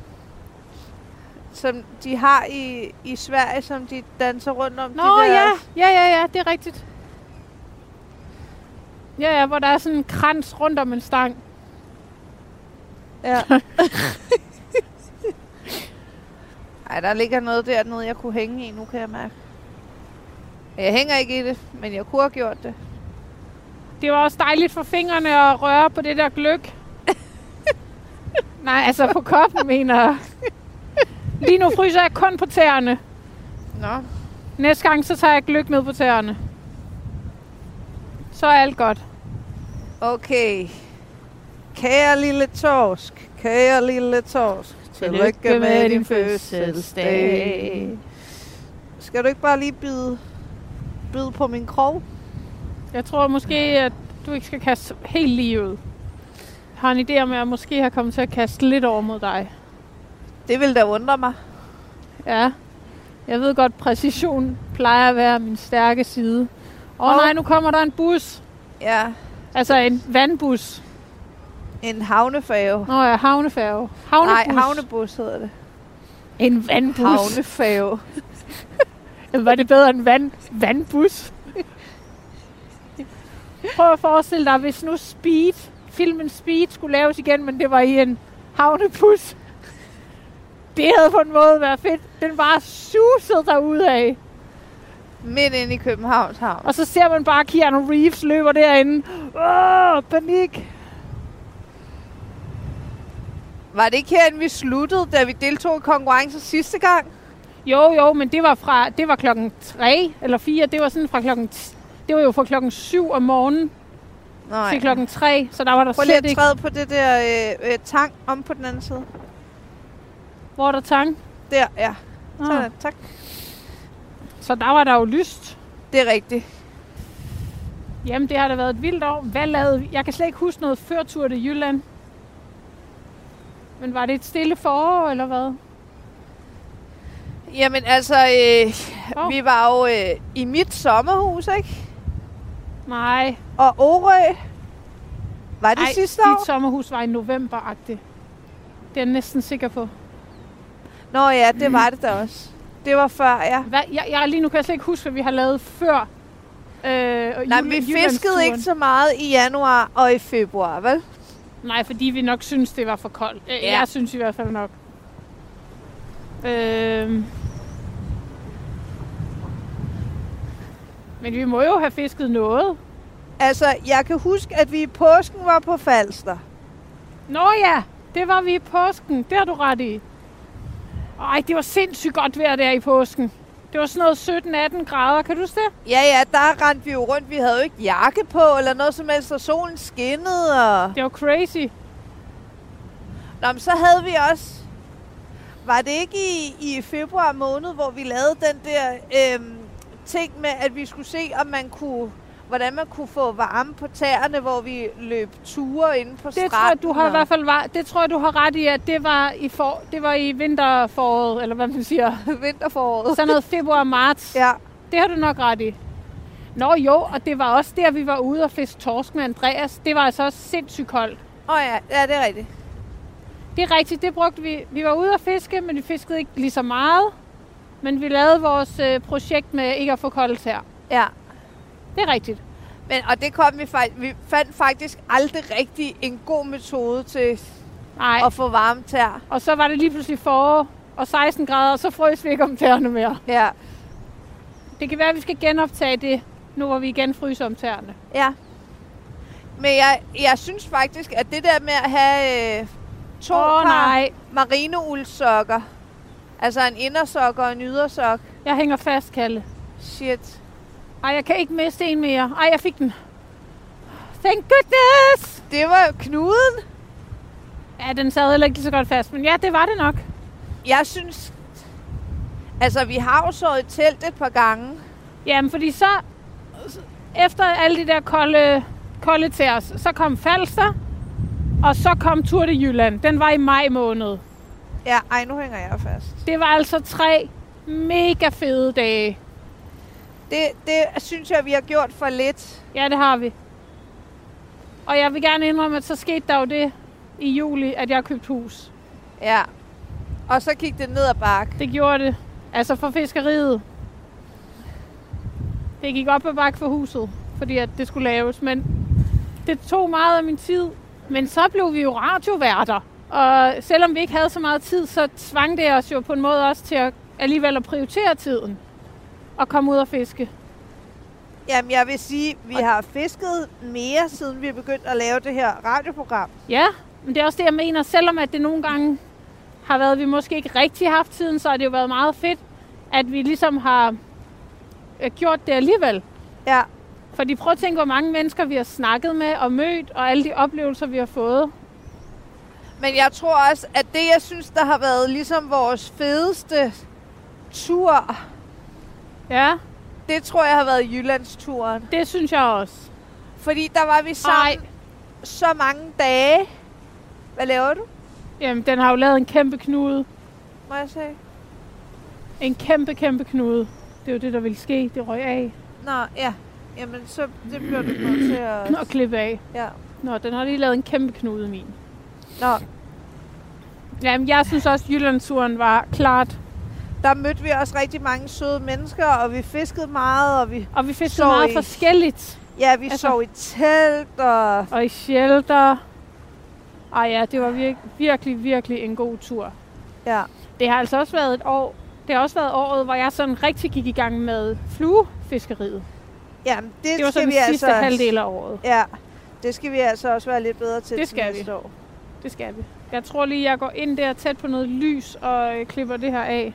S4: som de har i, i Sverige, som de danser rundt om.
S2: Nå
S4: de der,
S2: ja, ja, ja, ja, det er rigtigt. Ja, ja, hvor der er sådan en krans rundt om en stang.
S4: ja. Ej, der ligger noget dernede, jeg kunne hænge i nu, kan jeg mærke. Jeg hænger ikke i det, men jeg kunne have gjort det.
S2: Det var også dejligt for fingrene at røre på det der gløk. Nej, altså på koppen, mener jeg. Lige nu fryser jeg kun på tæerne.
S4: Nå,
S2: Næste gang, så tager jeg gløk med på tæerne. Så er alt godt.
S4: okay. Kære lille torsk, kære lille torsk. Tillykke med din fødselsdag. Skal du ikke bare lige bide, bide på min krog?
S2: Jeg tror måske, at du ikke skal kaste helt lige ud. Jeg har en idé om, at jeg måske har kommet til at kaste lidt over mod dig.
S4: Det vil da undre mig.
S2: Ja. Jeg ved godt, præcision plejer at være min stærke side. Åh oh,
S4: Og-
S2: nej, nu kommer der en bus.
S4: Ja,
S2: Altså en vandbus.
S4: en havnefave.
S2: Nå ja, havnefærge. Havnebus.
S4: Nej, havnebus hedder det.
S2: En vandbus.
S4: Havnefave.
S2: Var det bedre end vand, vandbus? Prøv at forestille dig, hvis nu Speed, filmen Speed skulle laves igen, men det var i en havnebus. Det havde på en måde været fedt. Den bare susede derude af.
S4: Midt inde i Københavns havn.
S2: Og så ser man bare Keanu Reeves løber derinde. Åh, panik.
S4: Var det ikke herinde, vi sluttede, da vi deltog i konkurrencen sidste gang?
S2: Jo, jo, men det var, fra, det var klokken 3 eller 4. Det var sådan fra klokken... T- det var jo fra klokken 7 om morgenen
S4: Nej.
S2: til klokken 3, så der var der
S4: Prøv lige
S2: slet
S4: at
S2: ikke...
S4: træde på det der øh, øh, tang om på den anden side.
S2: Hvor er der tang?
S4: Der, ja.
S2: Ah.
S4: Sådan, tak.
S2: Så der var der jo lyst.
S4: Det er rigtigt.
S2: Jamen, det har da været et vildt år. Hvad lavede vi? Jeg kan slet ikke huske noget førtur til Jylland. Men var det et stille forår, eller hvad?
S4: Jamen altså, øh,
S2: Hov.
S4: oh. vi var jo øh, i mit sommerhus, ikke?
S2: Nej.
S4: Og Orø. Var det
S2: Ej,
S4: Ej, sidste
S2: dit
S4: år?
S2: sommerhus var i november -agtigt. Det er jeg næsten sikker på.
S4: Nå ja, det var det da også. Det var før, ja.
S2: Hvad? Jeg, jeg, lige nu kan jeg slet ikke huske, hvad vi har lavet før. Øh,
S4: Nej,
S2: jul-
S4: vi
S2: Jyllandsturen.
S4: fiskede ikke så meget i januar og i februar, vel?
S2: Nej, fordi vi nok synes det var for koldt. Ja.
S4: Ja.
S2: Jeg synes i hvert fald nok. Øhm. Men vi må jo have fisket noget.
S4: Altså, jeg kan huske, at vi i påsken var på Falster.
S2: Nå ja, det var vi i påsken. Det har du ret i. Ej, det var sindssygt godt vejr der i påsken. Det var sådan noget 17-18 grader, kan du huske det?
S4: Ja, ja, der rendte vi jo rundt. Vi havde jo ikke jakke på eller noget som helst, og solen skinnede. Og...
S2: Det var crazy.
S4: Nå, men så havde vi også... Var det ikke i, i februar måned, hvor vi lavede den der øhm, ting med, at vi skulle se, om man kunne hvordan man kunne få varme på tæerne, hvor vi løb ture inde på
S2: Det
S4: stranden.
S2: tror jeg, du har i
S4: og-
S2: hvert fald var, det tror jeg, du har ret i, at det var i, for, det var i vinterforåret, eller hvad man siger.
S4: vinterforåret.
S2: Sådan noget februar-marts.
S4: Ja.
S2: Det har du nok ret i. Nå jo, og det var også der, vi var ude og fiske torsk med Andreas. Det var altså også sindssygt koldt.
S4: Åh oh, ja. ja, det er rigtigt.
S2: Det er rigtigt, det brugte vi. Vi var ude og fiske, men vi fiskede ikke lige så meget. Men vi lavede vores øh, projekt med ikke at få koldt her.
S4: Ja.
S2: Det er rigtigt.
S4: Men, og det kom vi faktisk... Vi fandt faktisk aldrig rigtig en god metode til
S2: Nej, og,
S4: at få varme tær.
S2: og så var det lige pludselig forår og 16 grader, og så frøs vi ikke om tæerne mere.
S4: Ja.
S2: Det kan være, at vi skal genoptage det, nu hvor vi igen fryser om tæerne.
S4: Ja. Men jeg, jeg synes faktisk, at det der med at have øh, to
S2: Åh,
S4: par
S2: nej.
S4: marineuldsokker, altså en indersok og en ydersok,
S2: Jeg hænger fast, Kalle.
S4: shit.
S2: Ej, jeg kan ikke miste en mere. Ej, jeg fik den. Thank goodness!
S4: Det var jo knuden.
S2: Ja, den sad heller ikke lige så godt fast, men ja, det var det nok.
S4: Jeg synes... Altså, vi har jo så et telt et par gange.
S2: Jamen, fordi så, efter alle de der kolde, kolde til os, så kom Falster, og så kom Tour de Jylland. Den var i maj måned.
S4: Ja, ej, nu hænger jeg fast.
S2: Det var altså tre mega fede dage.
S4: Det, det synes jeg, vi har gjort for lidt.
S2: Ja, det har vi. Og jeg vil gerne indrømme, at så skete der jo det i juli, at jeg købte hus.
S4: Ja. Og så gik det ned ad bakke.
S2: Det gjorde det. Altså for fiskeriet. Det gik op ad bakke for huset, fordi at det skulle laves. Men det tog meget af min tid. Men så blev vi jo radioværter. Og selvom vi ikke havde så meget tid, så tvang det os jo på en måde også til at alligevel at prioritere tiden. Og komme ud og fiske.
S4: Jamen, jeg vil sige, vi har fisket mere, siden vi begyndte at lave det her radioprogram.
S2: Ja, men det er også det, jeg mener. Selvom at det nogle gange har været, at vi måske ikke rigtig har haft tiden, så har det jo været meget fedt, at vi ligesom har øh, gjort det alligevel.
S4: Ja.
S2: Fordi prøv at tænke, hvor mange mennesker vi har snakket med og mødt, og alle de oplevelser, vi har fået.
S4: Men jeg tror også, at det, jeg synes, der har været ligesom vores fedeste tur,
S2: Ja,
S4: det tror jeg har været Jyllandsturen.
S2: det synes jeg også.
S4: Fordi der var vi sammen
S2: Ej.
S4: så mange dage. Hvad laver du,
S2: Jamen, den har jo lavet en kæmpe knude.
S4: må jeg sige?
S2: En kæmpe, kæmpe knude. Det er jo det, der ville ske. Det røg af
S4: Nå, ja. Jamen, så det bliver du nødt til at...
S2: og klippe af.
S4: Ja.
S2: Nå, den har lige lavet en kæmpe knude, min.
S4: Nå,
S2: Jamen, jeg synes også, Jyllandsturen var klart.
S4: der mødte vi også rigtig mange søde mennesker, og vi fiskede meget, og vi,
S2: Og vi fik så
S4: Sorry.
S2: meget forskelligt.
S4: ja, vi altså...
S2: Altså-
S4: sov i telt, og
S2: Og i shelter. Ej ja, det var vir- virkelig, virkelig en god tur.
S4: ja,
S2: Det har altså også været et år, det har også været året, hvor jeg sådan rigtig gik i gang med fluefiskeriet.
S4: jamen, det,
S2: Det var
S4: skal
S2: sådan
S4: vi
S2: den
S4: altså
S2: sidste
S4: også-
S2: halvdel af året.
S4: Ja, det skal vi altså også være lidt bedre til
S2: Det
S4: til
S2: skal
S4: næste år.
S2: Det skal vi. Jeg tror lige, jeg går ind der tæt på noget lys og øh, klipper det her af.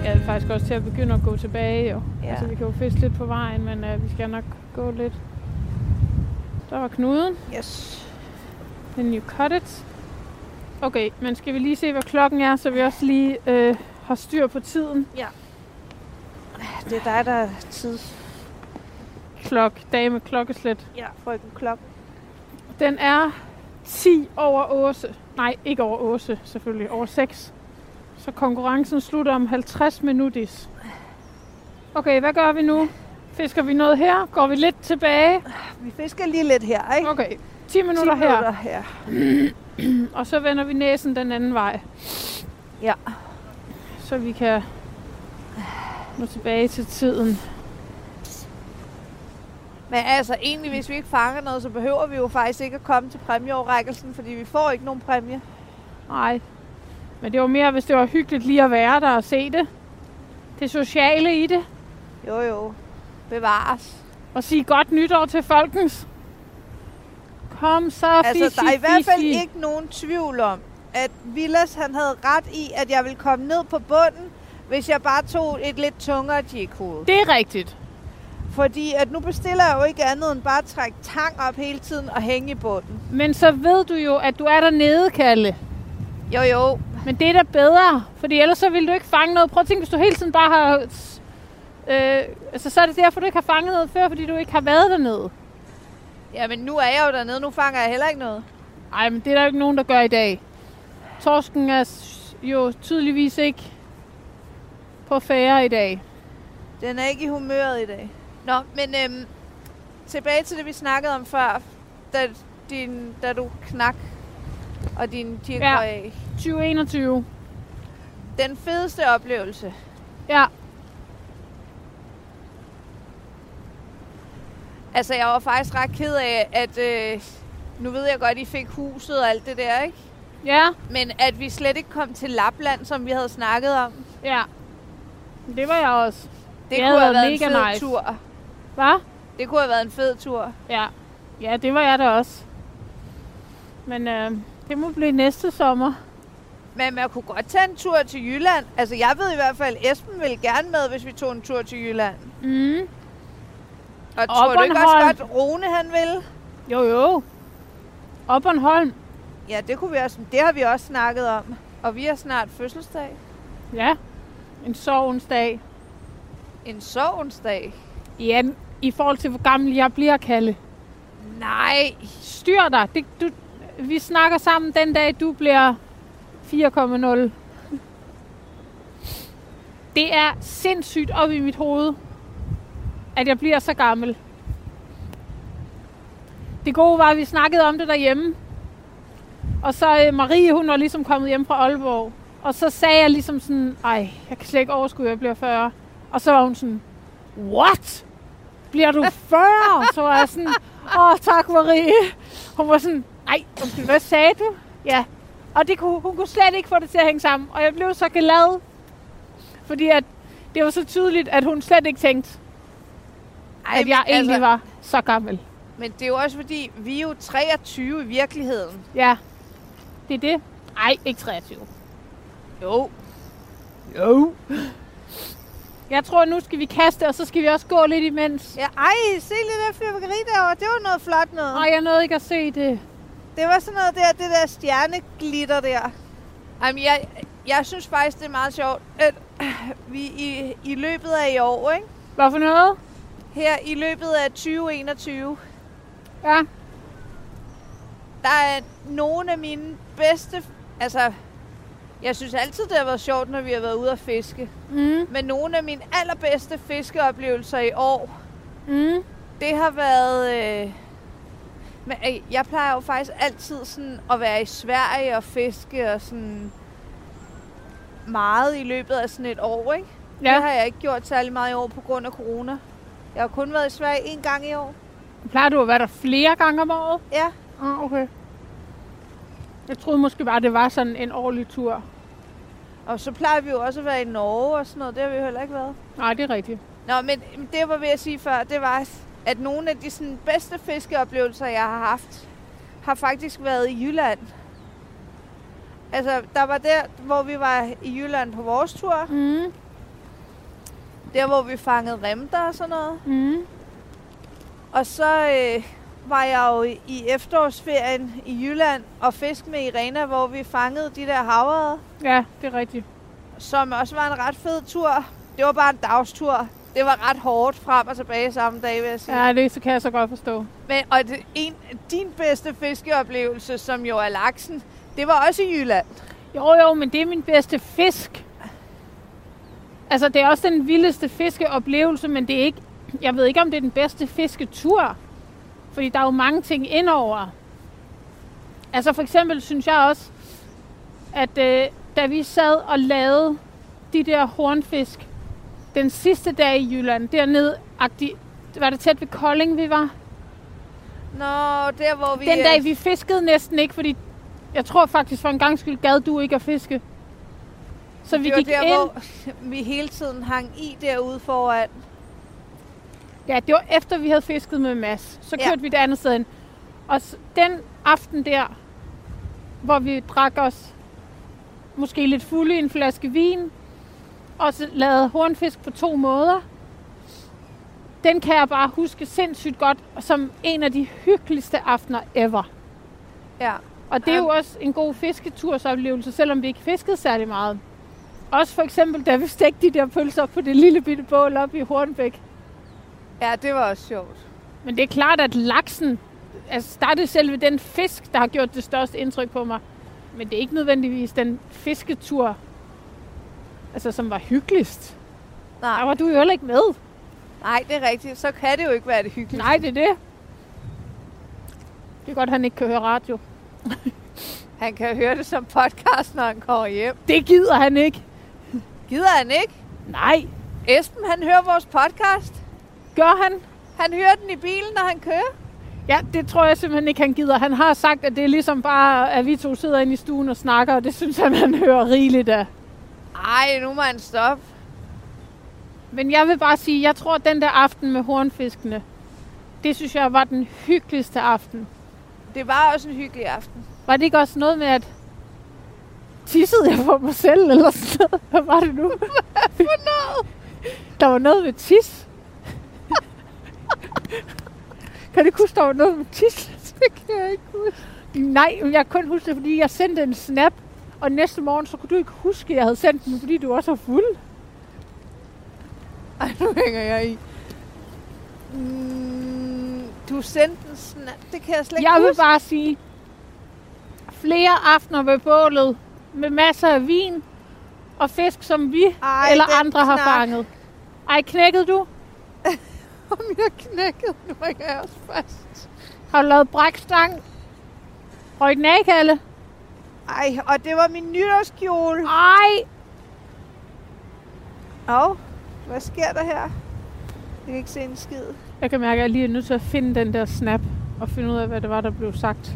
S2: Skal vi faktisk også til at begynde at gå tilbage, jo.
S4: Ja.
S2: Ja. Altså, vi kan jo fiske lidt på vejen, men øh, vi skal nok gå lidt. Der var knuden.
S4: Yes.
S2: Then you cut it. Okay, men skal vi lige se, hvad klokken er, så vi også lige øh, har styr på tiden.
S4: Det er dig, der er tids.
S2: Klok, dage med klokkeslæt.
S4: Ja, frøken klokken.
S2: Den er 10 over Åse. Nej, ikke over Åse, selvfølgelig. Over 6. Så konkurrencen slutter om 50 minutter. Okay, hvad gør vi nu? Fisker vi noget her? Går vi lidt tilbage?
S4: Vi fisker lige lidt her, ikke?
S2: Okay, 10
S4: 10
S2: minutter her.
S4: minutter her.
S2: Og så vender vi næsen den anden vej.
S4: Ja.
S2: Så vi kan nå tilbage til tiden.
S4: Men altså, egentlig, hvis vi ikke fanger noget, så behøver vi jo faktisk ikke at komme til præmieoverrækkelsen, fordi vi får ikke nogen præmie.
S2: Nej. Men det var mere, hvis det var hyggeligt lige at være der og se det. Det sociale i det.
S4: Jo, jo. Bevares.
S2: Og sige godt nytår til folkens. Kom så,
S4: Altså,
S2: fisi,
S4: der er i hvert fald
S2: fisi.
S4: ikke nogen tvivl om, at Villas, han havde ret i, at jeg ville komme ned på bunden, hvis jeg bare tog et lidt tungere jighoved.
S2: Det er rigtigt.
S4: Fordi at nu bestiller jeg jo ikke andet end bare at trække tang op hele tiden og hænge i bunden.
S2: Men så ved du jo, at du er dernede, Kalle.
S4: Jo, jo.
S2: Men det er da bedre, fordi ellers så ville du ikke fange noget. Prøv at tænke, hvis du hele tiden bare har... Øh, altså, så er det derfor, du ikke har fanget noget før, fordi du ikke har været dernede.
S4: Ja, men nu er jeg jo dernede. Nu fanger jeg heller ikke noget.
S2: Ej, men det er der jo ikke nogen, der gør i dag. Torsken er s- jo tydeligvis ikke på færre i dag.
S4: Den er ikke i humøret i dag. Nå, men øhm, tilbage til det, vi snakkede om før, da, din, da du knak og din tirkrøg
S2: Ja.
S4: af.
S2: 2021.
S4: Den fedeste oplevelse,
S2: Ja,
S4: altså jeg var faktisk ret ked af, at øh, nu ved jeg godt, I fik huset og alt det der, ikke?
S2: ja,
S4: Men at vi slet ikke kom til Lapland, som vi havde snakket om, det,
S2: ja. Det var jeg også.
S4: det
S2: havde
S4: kunne have
S2: været
S4: været en
S2: mega
S4: fed
S2: nice.
S4: tur.
S2: Hva?
S4: Det kunne have været en fed tur.
S2: Ja. Ja, det var jeg da også. Men øh, det må blive næste sommer.
S4: Men man kunne godt tage en tur til Jylland. Altså jeg ved i hvert fald, Esben ville gerne med, hvis vi tog en tur til Jylland.
S2: Mm.
S4: Og tror du ikke også
S2: Bornholm.
S4: godt, Rune han vil?
S2: Jo, jo. Og Bornholm.
S4: Ja, det kunne vi også. Det har vi også snakket om. Og vi har snart fødselsdag.
S2: Ja. En sovens dag.
S4: En sovensdag.
S2: Ja, i forhold til, hvor gammel jeg bliver, Kalle.
S4: Nej.
S2: Styr dig. Det, du, vi snakker sammen den dag, du bliver 4,0. Det er sindssygt op i mit hoved, at jeg bliver så gammel. Det gode var, at vi snakkede om det derhjemme. Og så øh, Marie, hun var ligesom kommet hjem fra Aalborg. Og så sagde jeg ligesom sådan, ej, jeg kan slet ikke overskue, at jeg bliver 40. Og så var hun sådan, what? Bliver du 40? Så var jeg sådan, åh, tak Marie. Hun var sådan, ej, undskyld, hvad sagde du? Ja. Og det kunne, hun kunne slet ikke få det til at hænge sammen. Og jeg blev så glad. Fordi at det var så tydeligt, at hun slet ikke tænkte,
S4: Ej,
S2: at jeg
S4: men
S2: egentlig var så gammel.
S4: Men det er jo også fordi, vi er jo 23 i virkeligheden.
S2: Ja. Det er det. Ej, ikke 23.
S4: Jo.
S2: Jo. Jeg tror, nu skal vi kaste, og så skal vi også gå lidt imens.
S4: Ja, ej, se lige der fyrværkeri derovre. Det var noget flot noget.
S2: Og jeg nåede ikke at se det.
S4: Det var sådan noget der, det der stjerneglitter der. Jamen, jeg, jeg synes faktisk, det er meget sjovt, at vi i, i løbet af i år, ikke?
S2: Hvad for noget?
S4: her i løbet af 2021,
S2: Ja.
S4: der er nogle af mine bedste... Altså, jeg synes altid, det har været sjovt, når vi har været ude at fiske.
S2: Mm.
S4: Men nogle af mine allerbedste fiskeoplevelser i år,
S2: Mm.
S4: det har været... Øh, men øh, jeg plejer jo faktisk altid sådan at være i Sverige og fiske og sådan meget i løbet af sådan et år, ikke? Ja. Det
S2: Ja.
S4: har jeg ikke gjort særlig meget i år på grund af corona. Jeg har kun været i Sverige en gang i år.
S2: Plejer du at være der flere gange om året?
S4: Ja,
S2: Ah, okay. Jeg troede måske bare, det var sådan en årlig tur.
S4: og så plejer vi jo også at være i Norge og sådan noget. Det har vi jo heller ikke været.
S2: Nej, det er rigtigt.
S4: Nå, men det jeg var ved at sige før, det var, at nogle af de sådan, bedste fiskeoplevelser, jeg har haft, har faktisk været i Jylland. Altså, der var der, hvor vi var i Jylland på vores tur.
S2: Mm.
S4: Der, hvor vi fangede remter og sådan noget.
S2: Mm.
S4: Og så øh, var jeg jo i efterårsferien i Jylland og fisk med Irena, hvor vi fangede de der havre,
S2: Ja, det er rigtigt.
S4: som også var en ret fed tur. Det var bare en dagstur. Det var ret hårdt frem og tilbage samme dag, vil jeg sige.
S2: Ja, det så kan jeg så godt forstå.
S4: Men, og det, en, din bedste fiskeoplevelse, som jo er laksen, det var også i Jylland.
S2: Jo, jo, men det er min bedste fisk. Altså, det er også den vildeste fiskeoplevelse, men det er ikke... Jeg ved ikke, om det er den bedste fisketur. Fordi der er jo mange ting indover. Altså, for eksempel synes jeg også, at øh, da vi sad og lavede de der hornfisk den sidste dag i Jylland, dernede, agtig, var det tæt ved Kolding, vi var?
S4: Nå, der hvor vi... øh,
S2: Den dag, vi fiskede næsten ikke, fordi jeg tror faktisk for en gang skyld gad du ikke at fiske. Så vi
S4: det var
S2: gik
S4: der,
S2: ind.
S4: hvor vi hele tiden hang i derude foran.
S2: Ja, det var efter vi havde fisket med Mads. Så
S4: Ja.
S2: kørte ja. vi det andet sted hen. Og s- den aften der, hvor vi drak os måske lidt fulde i en flaske vin, og så lavede hornfisk på to måder, den kan jeg bare huske sindssygt godt som en af de hyggeligste aftener ever.
S4: Ja.
S2: Og det er jo
S4: Jamen.
S2: også en god fisketursoplevelse, selvom vi ikke fiskede særlig meget. Også for eksempel, da vi stegte de der pølser på det lille bitte bål op i Hornbæk.
S4: ja, det var også sjovt.
S2: Men det er klart, at laksen, altså der er det selve den fisk, der har gjort det største indtryk på mig. Men det er ikke nødvendigvis den fisketur, altså som var hyggeligst. Der
S4: Nej,
S2: var du jo heller ikke med.
S4: nej, det er rigtigt. Så kan det jo ikke være det hyggeligt.
S2: Nej, det er det. Det er godt, han ikke kan høre radio.
S4: Han kan høre det som podcast, når han kommer hjem.
S2: Det gider han ikke.
S4: Gider han ikke?
S2: Nej.
S4: Esben, han hører vores podcast.
S2: Gør han?
S4: Han hører den i bilen, når han kører.
S2: Ja, det tror jeg simpelthen ikke, han gider. Han har sagt, at det er ligesom bare, at vi to sidder inde i stuen og snakker, og det synes han, han hører rigeligt af.
S4: Ej, nu må han stoppe.
S2: Men jeg vil bare sige, jeg tror, at den der aften med hornfiskene, det synes jeg var den hyggeligste aften.
S4: Det var også en hyggelig aften.
S2: Var det ikke også noget med, at tissede jeg på mig selv, eller sådan noget? Hvad var det nu? For noget? Der var noget med tis. kan du ikke huske, der var noget med tis? Det kan jeg ikke huske. Nej, men jeg kan kun huske det, fordi jeg sendte en snap, og næste morgen, så kunne du ikke huske, at jeg havde sendt den, fordi du også var fuld.
S4: Ej, nu hænger jeg i. Mm, du sendte den snart. Det kan jeg slet ikke
S2: Jeg vil
S4: huske.
S2: bare sige, flere aftener ved bålet med masser af vin og fisk, som vi
S4: Ej,
S2: Ej, eller
S4: den
S2: andre har
S4: snak
S2: fanget. Ej, knækkede du?
S4: Om jeg knækkede, nu er jeg også fast.
S2: Har du lavet brækstang? Røg den af, Kalle?
S4: Ej, og det var min nytårskjole.
S2: Ej!
S4: Au, hvad sker der her? Jeg kan ikke se en skid.
S2: Jeg kan mærke, at jeg lige er nødt til at finde den der snap og finde ud af, hvad det var, der blev sagt.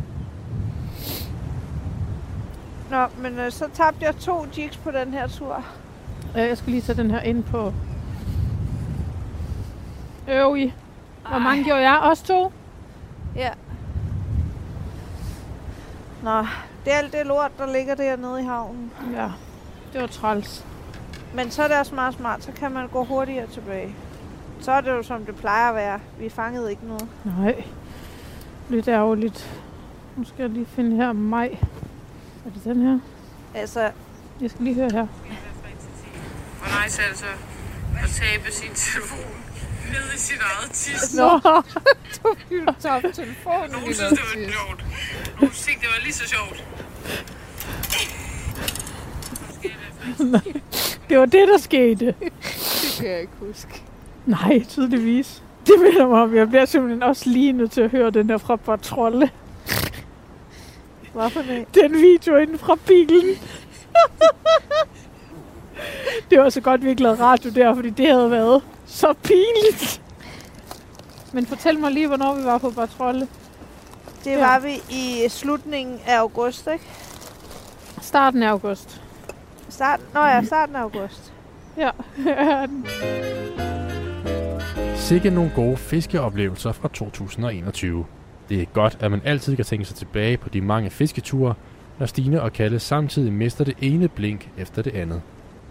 S4: Nå, men øh, så tabte jeg to jigs på den her tur.
S2: Øh, Jeg skal lige tage den her ind på... Øv i. Hvor mange gjorde jeg? Også to?
S4: Nå, det er alt det lort, der ligger dernede i havnen.
S2: Ja, det var træls.
S4: Men så er det også meget smart, så kan man gå hurtigere tilbage. Så er det jo som det plejer at være. Vi fangede ikke noget.
S2: Nej, lidt ærgerligt. Nu skal jeg lige finde her maj. Er det den her?
S4: Altså,
S2: Jeg skal lige høre her.
S5: Og nej, så altså at tabe sin telefon ned i sin eget tis.
S2: Nå,
S5: Nogen synes, det var sjovt. Nogen synes ikke, det var lige så sjovt.
S2: det var det, der skete.
S6: Det kan jeg ikke huske.
S2: Nej, tydeligvis. Det minder mig om, jeg bliver simpelthen også lige nødt til at høre den der fra Bartrolle.
S4: hvorfor det?
S2: Den video inden fra bilen. det var så godt, vi ikke lavede radio der, fordi det havde været så pinligt. Men fortæl mig lige, hvornår vi var på Bartrolle.
S4: Det
S2: Ja.
S4: var vi i slutningen af august, ikke?
S2: Starten af august.
S4: Starten, nå ja, starten af august.
S3: Sikke nogle gode fiskeoplevelser fra 2021. Det er godt, at man altid kan tænke sig tilbage på de mange fisketure, når Stine og Kalle samtidig mister det ene blink efter det andet.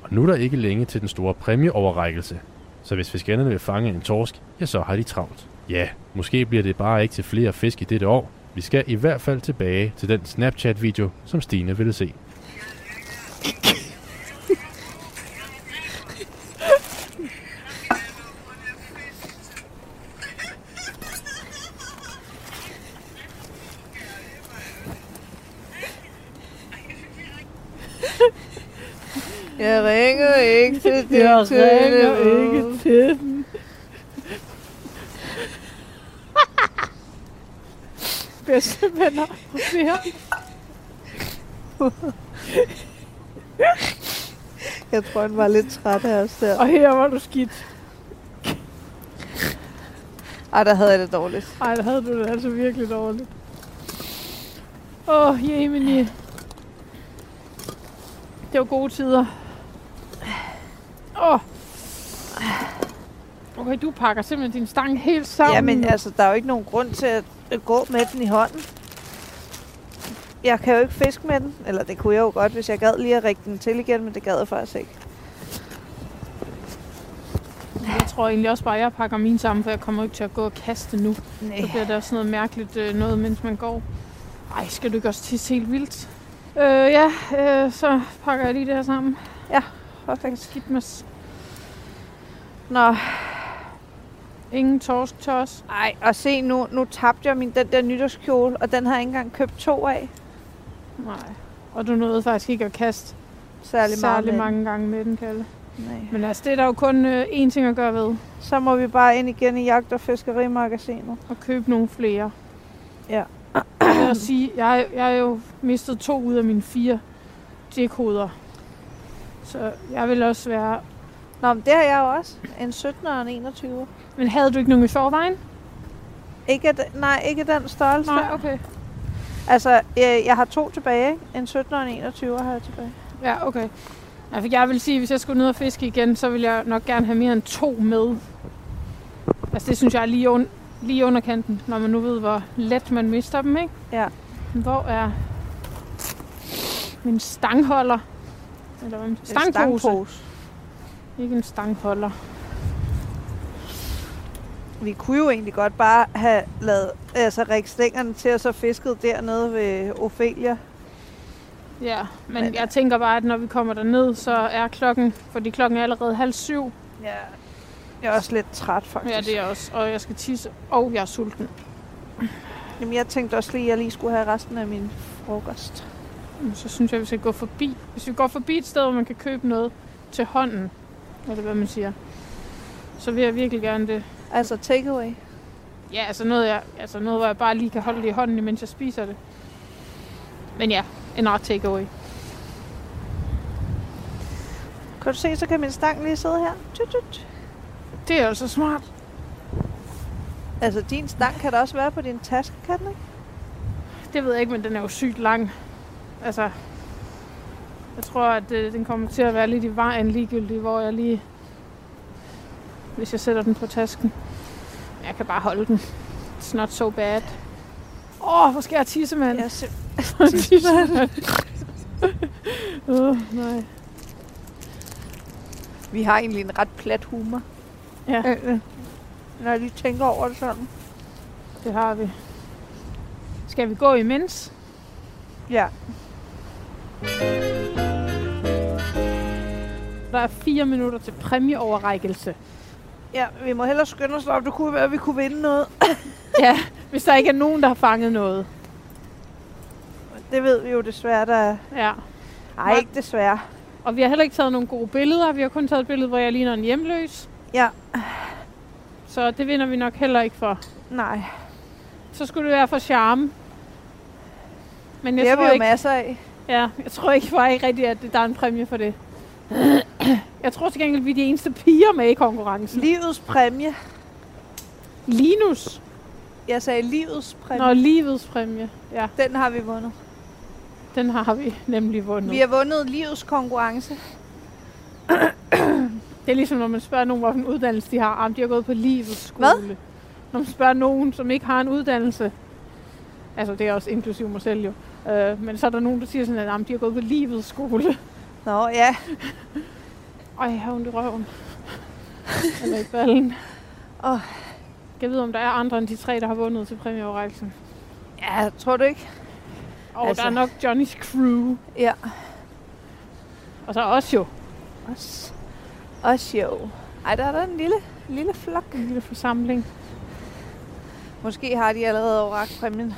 S3: Og nu er der ikke længe til den store præmieoverrækkelse. Så hvis fiskerne vil fange en torsk, ja så har de travlt. Ja, måske bliver det bare ikke til flere fisk i dette år. Vi skal i hvert fald tilbage til den Snapchat-video, som Stine ville se.
S6: Jeg ringer ikke til det.
S2: Jeg ringer ikke til den. Bedste venner og mere.
S4: Jeg tror, han var lidt træt af os der.
S2: Og her var du skidt.
S4: Ej, der havde jeg det dårligt.
S2: Ej, der havde du det altså virkelig dårligt. Åh, oh, Jemini. Det var gode tider. Åh. Oh. Okay, du pakker simpelthen din stang helt sammen.
S4: Jamen, altså, der er jo ikke nogen grund til at at gå med den i hånden. Jeg kan jo ikke fiske med den. Eller det kunne jeg jo godt, hvis jeg gad lige at række den til igen, men det gad jeg faktisk ikke.
S2: Jeg tror egentlig også bare, at jeg pakker mine sammen, for jeg kommer ikke til at gå og kaste nu. Så
S4: Nej.
S2: bliver der sådan noget mærkeligt øh, noget, mens man går. Ej, skal du ikke også tisse helt vildt? Øh, ja, øh, så pakker jeg lige det her sammen.
S4: Perfekt.
S2: Skidt med s-
S4: Nå,
S2: ingen torsk til os.
S4: ej, og se nu, nu tabte jeg min, den der nytårskjole, og den har jeg ikke engang købt to af.
S2: Nej. Og du nåede faktisk ikke at kaste
S4: Særlig,
S2: særlig
S4: meget.
S2: mange gange med den, Kalle.
S4: Nej.
S2: Men altså, det er der jo kun øh, én ting at gøre ved.
S4: Så må vi bare ind igen i jagt- og fiskerimagasinet.
S2: At købe nogle flere.
S4: Ja.
S2: Jeg vil også sige, jeg, jeg har jo mistet to ud af mine fire dækhoveder. Så jeg vil også være...
S4: Nå, men det har jeg jo også. En 17 og en 21.
S2: Men havde du ikke nogen i forvejen?
S4: Ikke, at- nej, ikke den størrelse. der.
S2: okay.
S4: Altså, jeg, jeg har to tilbage, ikke? En 17 og en 21 har jeg tilbage.
S2: Ja, okay. Ja, for jeg vil sige, at hvis jeg skulle ned og fiske igen, så ville jeg nok gerne have mere end to med. Altså det synes jeg er lige, un- lige under kanten, når man nu ved, hvor let man mister dem, ikke?
S4: Ja.
S2: Hvor er min stangholder? Eller hvad? man- Stangpose. stangpose. Ikke en stangholder.
S4: Vi kunne jo egentlig godt bare have lavet altså, række stængerne til, og så fisket dernede ved Ophelia.
S2: Ja, men,
S4: Men-
S2: men jeg tænker bare, at når vi kommer derned, så er klokken, fordi klokken er allerede halv syv.
S4: Ja. Jeg er også lidt træt, faktisk.
S2: Ja, det er jeg også. Og jeg skal tisse, og jeg er sulten.
S4: Jamen, jeg tænkte også lige, at jeg lige skulle have resten af min frokost.
S2: Jamen, Så synes jeg, vi skal gå forbi. Hvis vi går forbi et sted, hvor man kan købe noget til hånden, eller hvad man siger, så vil jeg virkelig gerne det.
S4: Altså takeaway.
S2: Ja, altså noget, jeg, altså noget, hvor jeg bare lige kan holde det i hånden, mens jeg spiser det. Men ja, en art takeaway.
S4: Kan du se, så kan min stang lige sidde her. Tut, tut.
S2: Det er altså smart.
S4: Altså, din stang kan da også være på din taske, kan den ikke?
S2: Det ved jeg ikke, men den er jo sygt lang. Altså, jeg tror, at øh, den kommer til at være lidt i vejen ligegyldigt, hvor jeg lige... Hvis jeg sætter den på tasken. Men jeg kan bare holde den. It's not so bad. Åh, oh, hvor skal jeg tisse, mand?
S4: Jeg er sim-
S2: tisse, mand. Åh, nej.
S4: Vi har egentlig en ret plat humor.
S2: Ja.
S4: Øh, Når jeg lige tænker over det sådan.
S2: Det har vi. Skal vi gå imens?
S4: Ja.
S2: Der er fire minutter til præmieoverrækkelse.
S4: Ja, vi må hellere skynde os op. Det kunne være, at vi kunne vinde noget.
S2: Ja, hvis der ikke er nogen, der har fanget noget.
S4: Det ved vi jo desværre, der er.
S2: Ja.
S4: Ej, ikke desværre.
S2: Og vi har heller ikke taget nogle gode billeder. Vi har kun taget et billede, hvor jeg ligner en hjemløs.
S4: Ja.
S2: Så det vinder vi nok heller ikke for.
S4: Nej,
S2: Så skulle det være for charme. Men jeg
S4: det har vi
S2: tror
S4: jo
S2: ikke,
S4: masser af.
S2: ja, jeg tror ikke bare ikke rigtigt, at der er en præmie for det. Jeg tror til gengæld, vi er de eneste piger med i konkurrencen.
S4: Livets præmie.
S2: Linus.
S4: Jeg sagde livets præmie.
S2: Nå, livets præmie. Ja,
S4: Den har vi vundet.
S2: den har vi nemlig vundet.
S4: Vi har vundet livets konkurrence.
S2: Det er ligesom, når man spørger nogen, hvilken uddannelse de har. Jamen, de har gået på livets skole.
S4: Hvad?
S2: Når man spørger nogen, som ikke har en uddannelse. Altså, det er også inklusiv mig selv jo. Øh, men så er der nogen, der siger sådan, at jamen, de har gået på livets skole.
S4: Nå, ja.
S2: Ej, jeg har ondt i røven. Eller i ballen.
S4: Åh.
S2: Jeg ved, om der er andre end de tre, der har vundet til præmieoverrækkelsen.
S4: Ja, tror du ikke?
S2: Og altså.
S4: Altså.
S2: der er nok Johnny's crew.
S4: Ja.
S2: Og så os jo.
S4: Os. Os jo. Ej, der er der en lille, lille flok.
S2: En lille forsamling.
S4: Måske har de allerede overragt præmien.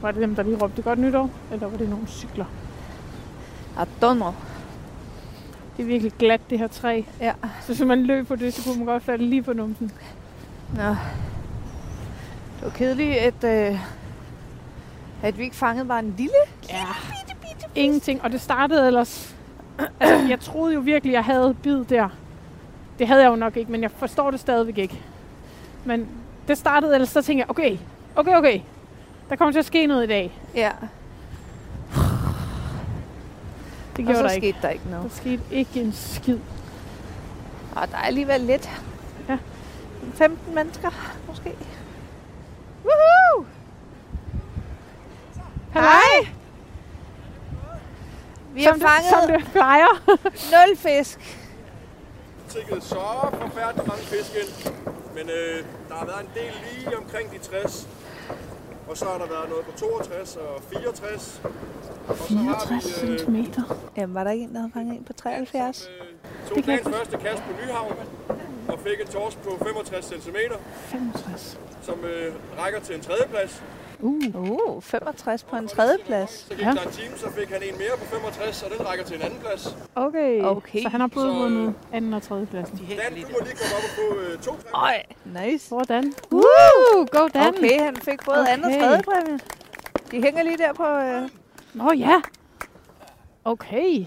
S2: Var det dem, der lige råbte godt nytår? Eller var det nogle cykler?
S4: I don't know.
S2: Det er virkelig glat, det her træ.
S4: Ja.
S2: Så hvis man løb på det, så kunne man godt falde lige på numsen.
S4: Nå. Det var kedeligt, at, øh, at vi ikke fangede bare en lille.
S2: Ja. Ingenting. Og det startede ellers... Altså, jeg troede jo virkelig, jeg havde bid der. Det havde jeg jo nok ikke, men jeg forstår det stadigvæk ikke. Men det startede ellers, så tænkte jeg, okay, okay, okay. Der kommer til at ske noget i dag.
S4: Ja,
S2: Det
S4: og
S2: gjorde
S4: så
S2: der ikke.
S4: skete der ikke
S2: Der
S4: noget.
S2: skete ikke en skid.
S4: Og der er alligevel lidt.
S2: Ja.
S4: 15 mennesker, måske. Woohoo! Hej! Vi har
S2: som, det, som
S4: fanget
S2: det plejer.
S4: nul fisk.
S7: tikket så forfærdelig mange fisk ind. Men øh, der har været en del lige omkring de 60. Og så har der været noget på 62 og 64. Og så har vi øh,
S2: 64 cm.
S4: Jamen, var der ikke en, der havde fanget en på 73?
S7: øh, tog
S2: Det kan jeg
S7: dagens
S2: ikke
S7: første kast på Nyhavn og fik en torsk på 65 cm,
S2: 65.
S7: som øh, rækker til en tredjeplads.
S4: Uh, 65 på en tredjeplads.
S7: Så gik
S2: Ja.
S7: ja. der en time, så fik han en mere på 65, og den rækker til en anden plads.
S2: Okay.
S4: Okay.
S2: Så han har både
S7: Så-
S2: vundet anden og tredje pladsen.
S7: Dan, du må lige komme op og få øh, to præmier.
S4: Øj, nice.
S2: Sådan.
S4: Woo!
S2: Go, Dan.
S4: Okay, han fik både okay. anden og
S2: Okay.
S4: tredje præmie. De hænger lige der på... Øh,
S2: Nå ja. Okay.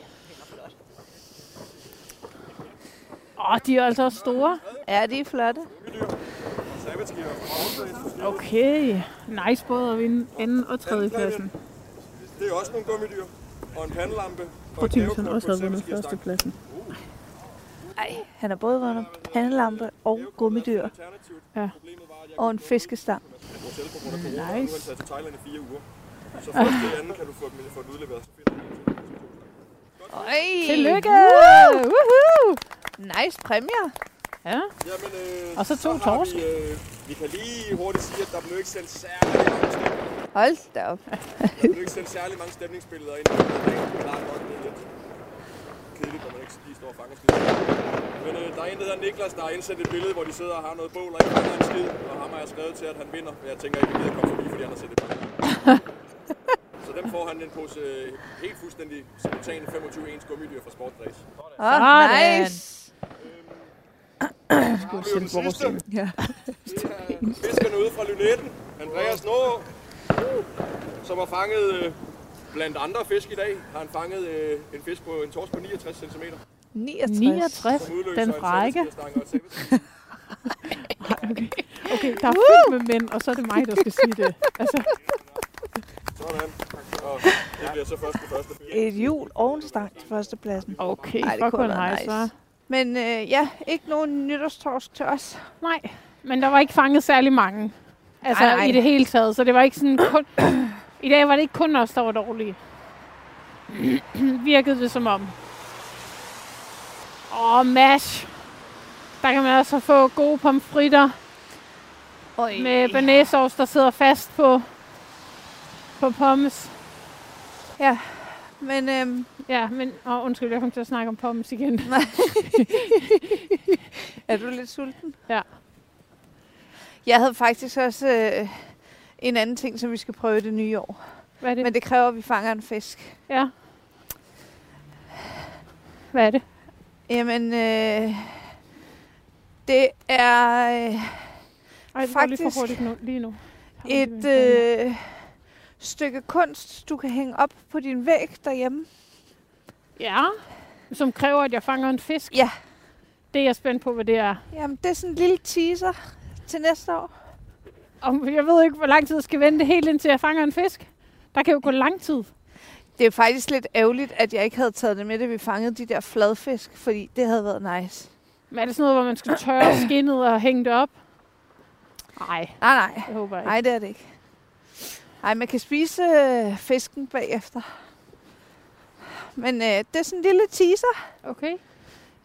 S2: Åh, de er altså også store.
S4: ja, de er flotte.
S7: Sabbatskiver.
S2: Okay. Nice både at vinde anden og tredje pladsen.
S7: Det er også nogle gummidyr. Og en pandelampe. Og
S2: Og
S7: et
S2: James han
S7: gavekort
S2: også
S7: på en
S2: havde vundet
S7: sabbatskiverstang.
S2: førstepladsen.
S4: Ej, han har både vundet pandelampe og gummidyr
S7: Alternativt.
S2: Ja.
S7: Problemet var, at jeg
S4: og en fiskestang.
S7: kunne bruge selv på grund af corona, og nu er
S2: Nice.
S7: jeg taget til Thailand i fire uger. Så først det andet kan du få dem, få dem udleveret. Så finder jeg en
S4: Øj,
S7: til.
S2: Tillykke!
S4: Woohoo! Nice præmier.
S2: Ja,
S7: Jamen, øh,
S2: Og så to
S7: har
S2: torsk.
S7: Vi, øh, vi kan lige hurtigt sige, at der blev ikke sendt særlig mange, stem-
S4: Hold da op.
S7: der blev ikke sendt særlig mange stemningsbilleder ind. Det er klart nok, det er lidt kedeligt, når man ikke lige står og fanger skid. Men øh, der er en, der hedder Niklas, der har indsendt et billede, hvor de sidder og har noget bål og ikke fanger en skid. Og ham har jeg skrevet til, at han vinder. Men jeg tænker ikke, at jeg gider komme forbi, fordi han har sendt et billede. Så dem får han en pose øh, helt fuldstændig simultane 25 ens gummidyr fra Sportdræs.
S4: Oh,
S2: Sådan.
S4: nice.
S7: Så har vi jo den sidste.
S1: Ja.
S7: Det er fiskerne ude fra Lynetten, Andreas Nå, som har fanget øh, blandt andre fisk i dag, har han fanget øh, en fisk på en torsk på 69 cm.
S4: 69.
S2: 69.
S7: Som udløser altså-
S2: Den
S7: en
S2: frække.
S7: sæbestang og et sæbestang.
S2: Okay. okay, der er fedt med mænd, og så er det mig, der skal sige det. Altså,
S7: Sådan. Og det bliver så først på første fisk.
S1: Et hjul ovenstang til førstepladsen.
S2: okay,
S4: Ej, det
S2: fuck,
S4: kunne
S2: hvor
S4: være
S2: nice,
S4: nice.
S2: hva'?
S4: Men øh, ja, ikke nogen nytårstorsk til os.
S2: Nej, men der var ikke fanget særlig mange. Altså
S4: Ej, ej.
S2: i det hele taget, så det var ikke sådan kun... I dag var det ikke kun os, der var dårlige. Virkede det som om. Åh, mash. Der kan man altså få gode pomfritter
S4: Oi.
S2: med banæsovs, der sidder fast på, på pommes.
S4: Men øhm,
S2: Ja, men... Åh, undskyld, jeg kom til at snakke om pommes igen.
S4: er du lidt sulten?
S2: Ja.
S4: Jeg havde faktisk også øh, en anden ting, som vi skal prøve det nye år.
S2: Hvad er det?
S4: Men det kræver, at vi fanger en fisk.
S2: Ja. Hvad er det?
S4: Jamen, øh, det er øh,
S2: Ej, det var lige for
S4: Faktisk
S2: hurtigt nu, lige nu. Har vi
S4: et
S2: lige en-
S4: øh, stykke kunst, du kan hænge op på din væg derhjemme.
S2: Ja, som kræver, at jeg fanger en fisk.
S4: Ja.
S2: Det er jeg spændt på, hvad det er.
S4: Jamen, det er sådan en lille teaser til næste år.
S2: Og jeg ved ikke, hvor lang tid jeg skal vente helt indtil jeg fanger en fisk. Der kan jo gå lang tid.
S4: Det er faktisk lidt ærgerligt, at jeg ikke havde taget det med, da vi fangede de der fladfisk, fordi det havde været nice.
S2: Men er det sådan noget, hvor man skal tørre skinnet og hænge det op? Nej,
S4: Nej, nej.
S2: jeg håber ikke.
S4: Nej, det er det ikke. Nej, man kan spise øh, fisken bagefter. Men øh, det er sådan en lille teaser
S2: Okay.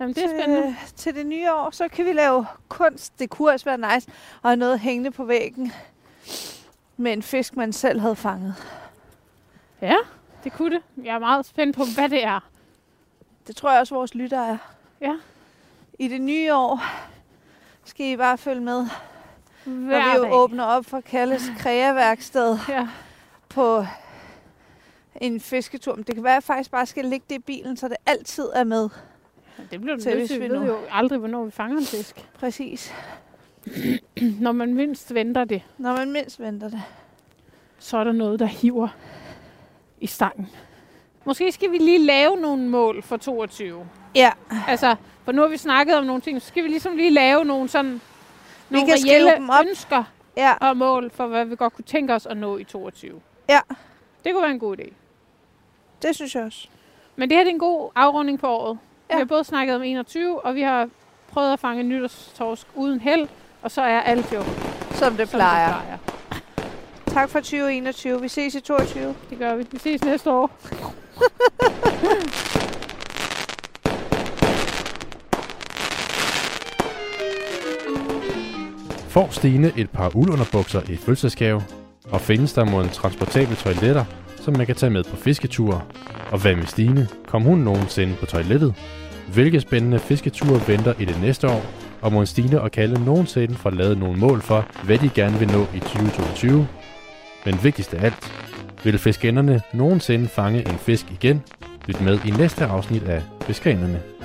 S2: Jamen, det er
S4: til,
S2: spændende.
S4: øh, til det nye år. Så kan vi lave kunst. Det kunne også være nice at have noget hængende på væggen med en fisk, man selv havde fanget.
S2: Ja, det kunne det. Jeg er meget spændt på, hvad det er.
S4: Det tror jeg også, vores lyttere er.
S2: Ja.
S4: I det nye år skal I bare følge med,
S2: Hver
S4: når vi
S2: dag.
S4: jo åbner op for Kalles kreaværksted
S2: Ja.
S4: på en fisketur. Men det kan være, at jeg faktisk bare skal ligge det i bilen, så det altid er med.
S2: Det bliver du
S4: Til
S2: nødt
S4: hvis
S2: til. Vi
S4: vi
S2: ved
S4: nu-
S2: jo aldrig, hvornår vi fanger en fisk.
S4: Præcis.
S2: Når man mindst venter det,
S4: Når man mindst venter det.
S2: så er der noget, der hiver i stangen. Måske skal vi lige lave nogle mål for 22.
S4: Ja,
S2: Altså, for nu har vi snakket om nogle ting, så skal vi ligesom lige lave nogle sådan nogle
S4: kan skrive
S2: reelle
S4: dem op.
S2: ønsker
S4: ja,
S2: og mål for, hvad vi godt kunne tænke os at nå i 22.
S4: Ja.
S2: Det kunne være en god idé.
S4: det synes jeg også.
S2: Men det her det er en god afrunding på året. Ja.
S4: Ja.
S2: Vi har både snakket om 21, og vi har prøvet at fange en nytårstorsk uden held, og så er alt jo, som
S4: Som det
S2: det
S4: plejer.
S2: plejer.
S4: Tak for 2021. Vi ses i 22.
S2: Det gør vi. Vi ses næste år.
S3: Får Stine et par uldunderbukser i fødselsdagsgave, og findes der mod en transportabel toiletter, som man kan tage med på fisketure. Og hvad med Stine? Kom hun nogensinde på toilettet? Hvilke spændende fisketure venter i det næste år? Og må Stine og Kalle nogensinde få lavet nogle mål for, hvad de gerne vil nå i 2022? Men vigtigst af alt, vil fiskenderne nogensinde fange en fisk igen? Lyt med i næste afsnit af Fiskerinderne.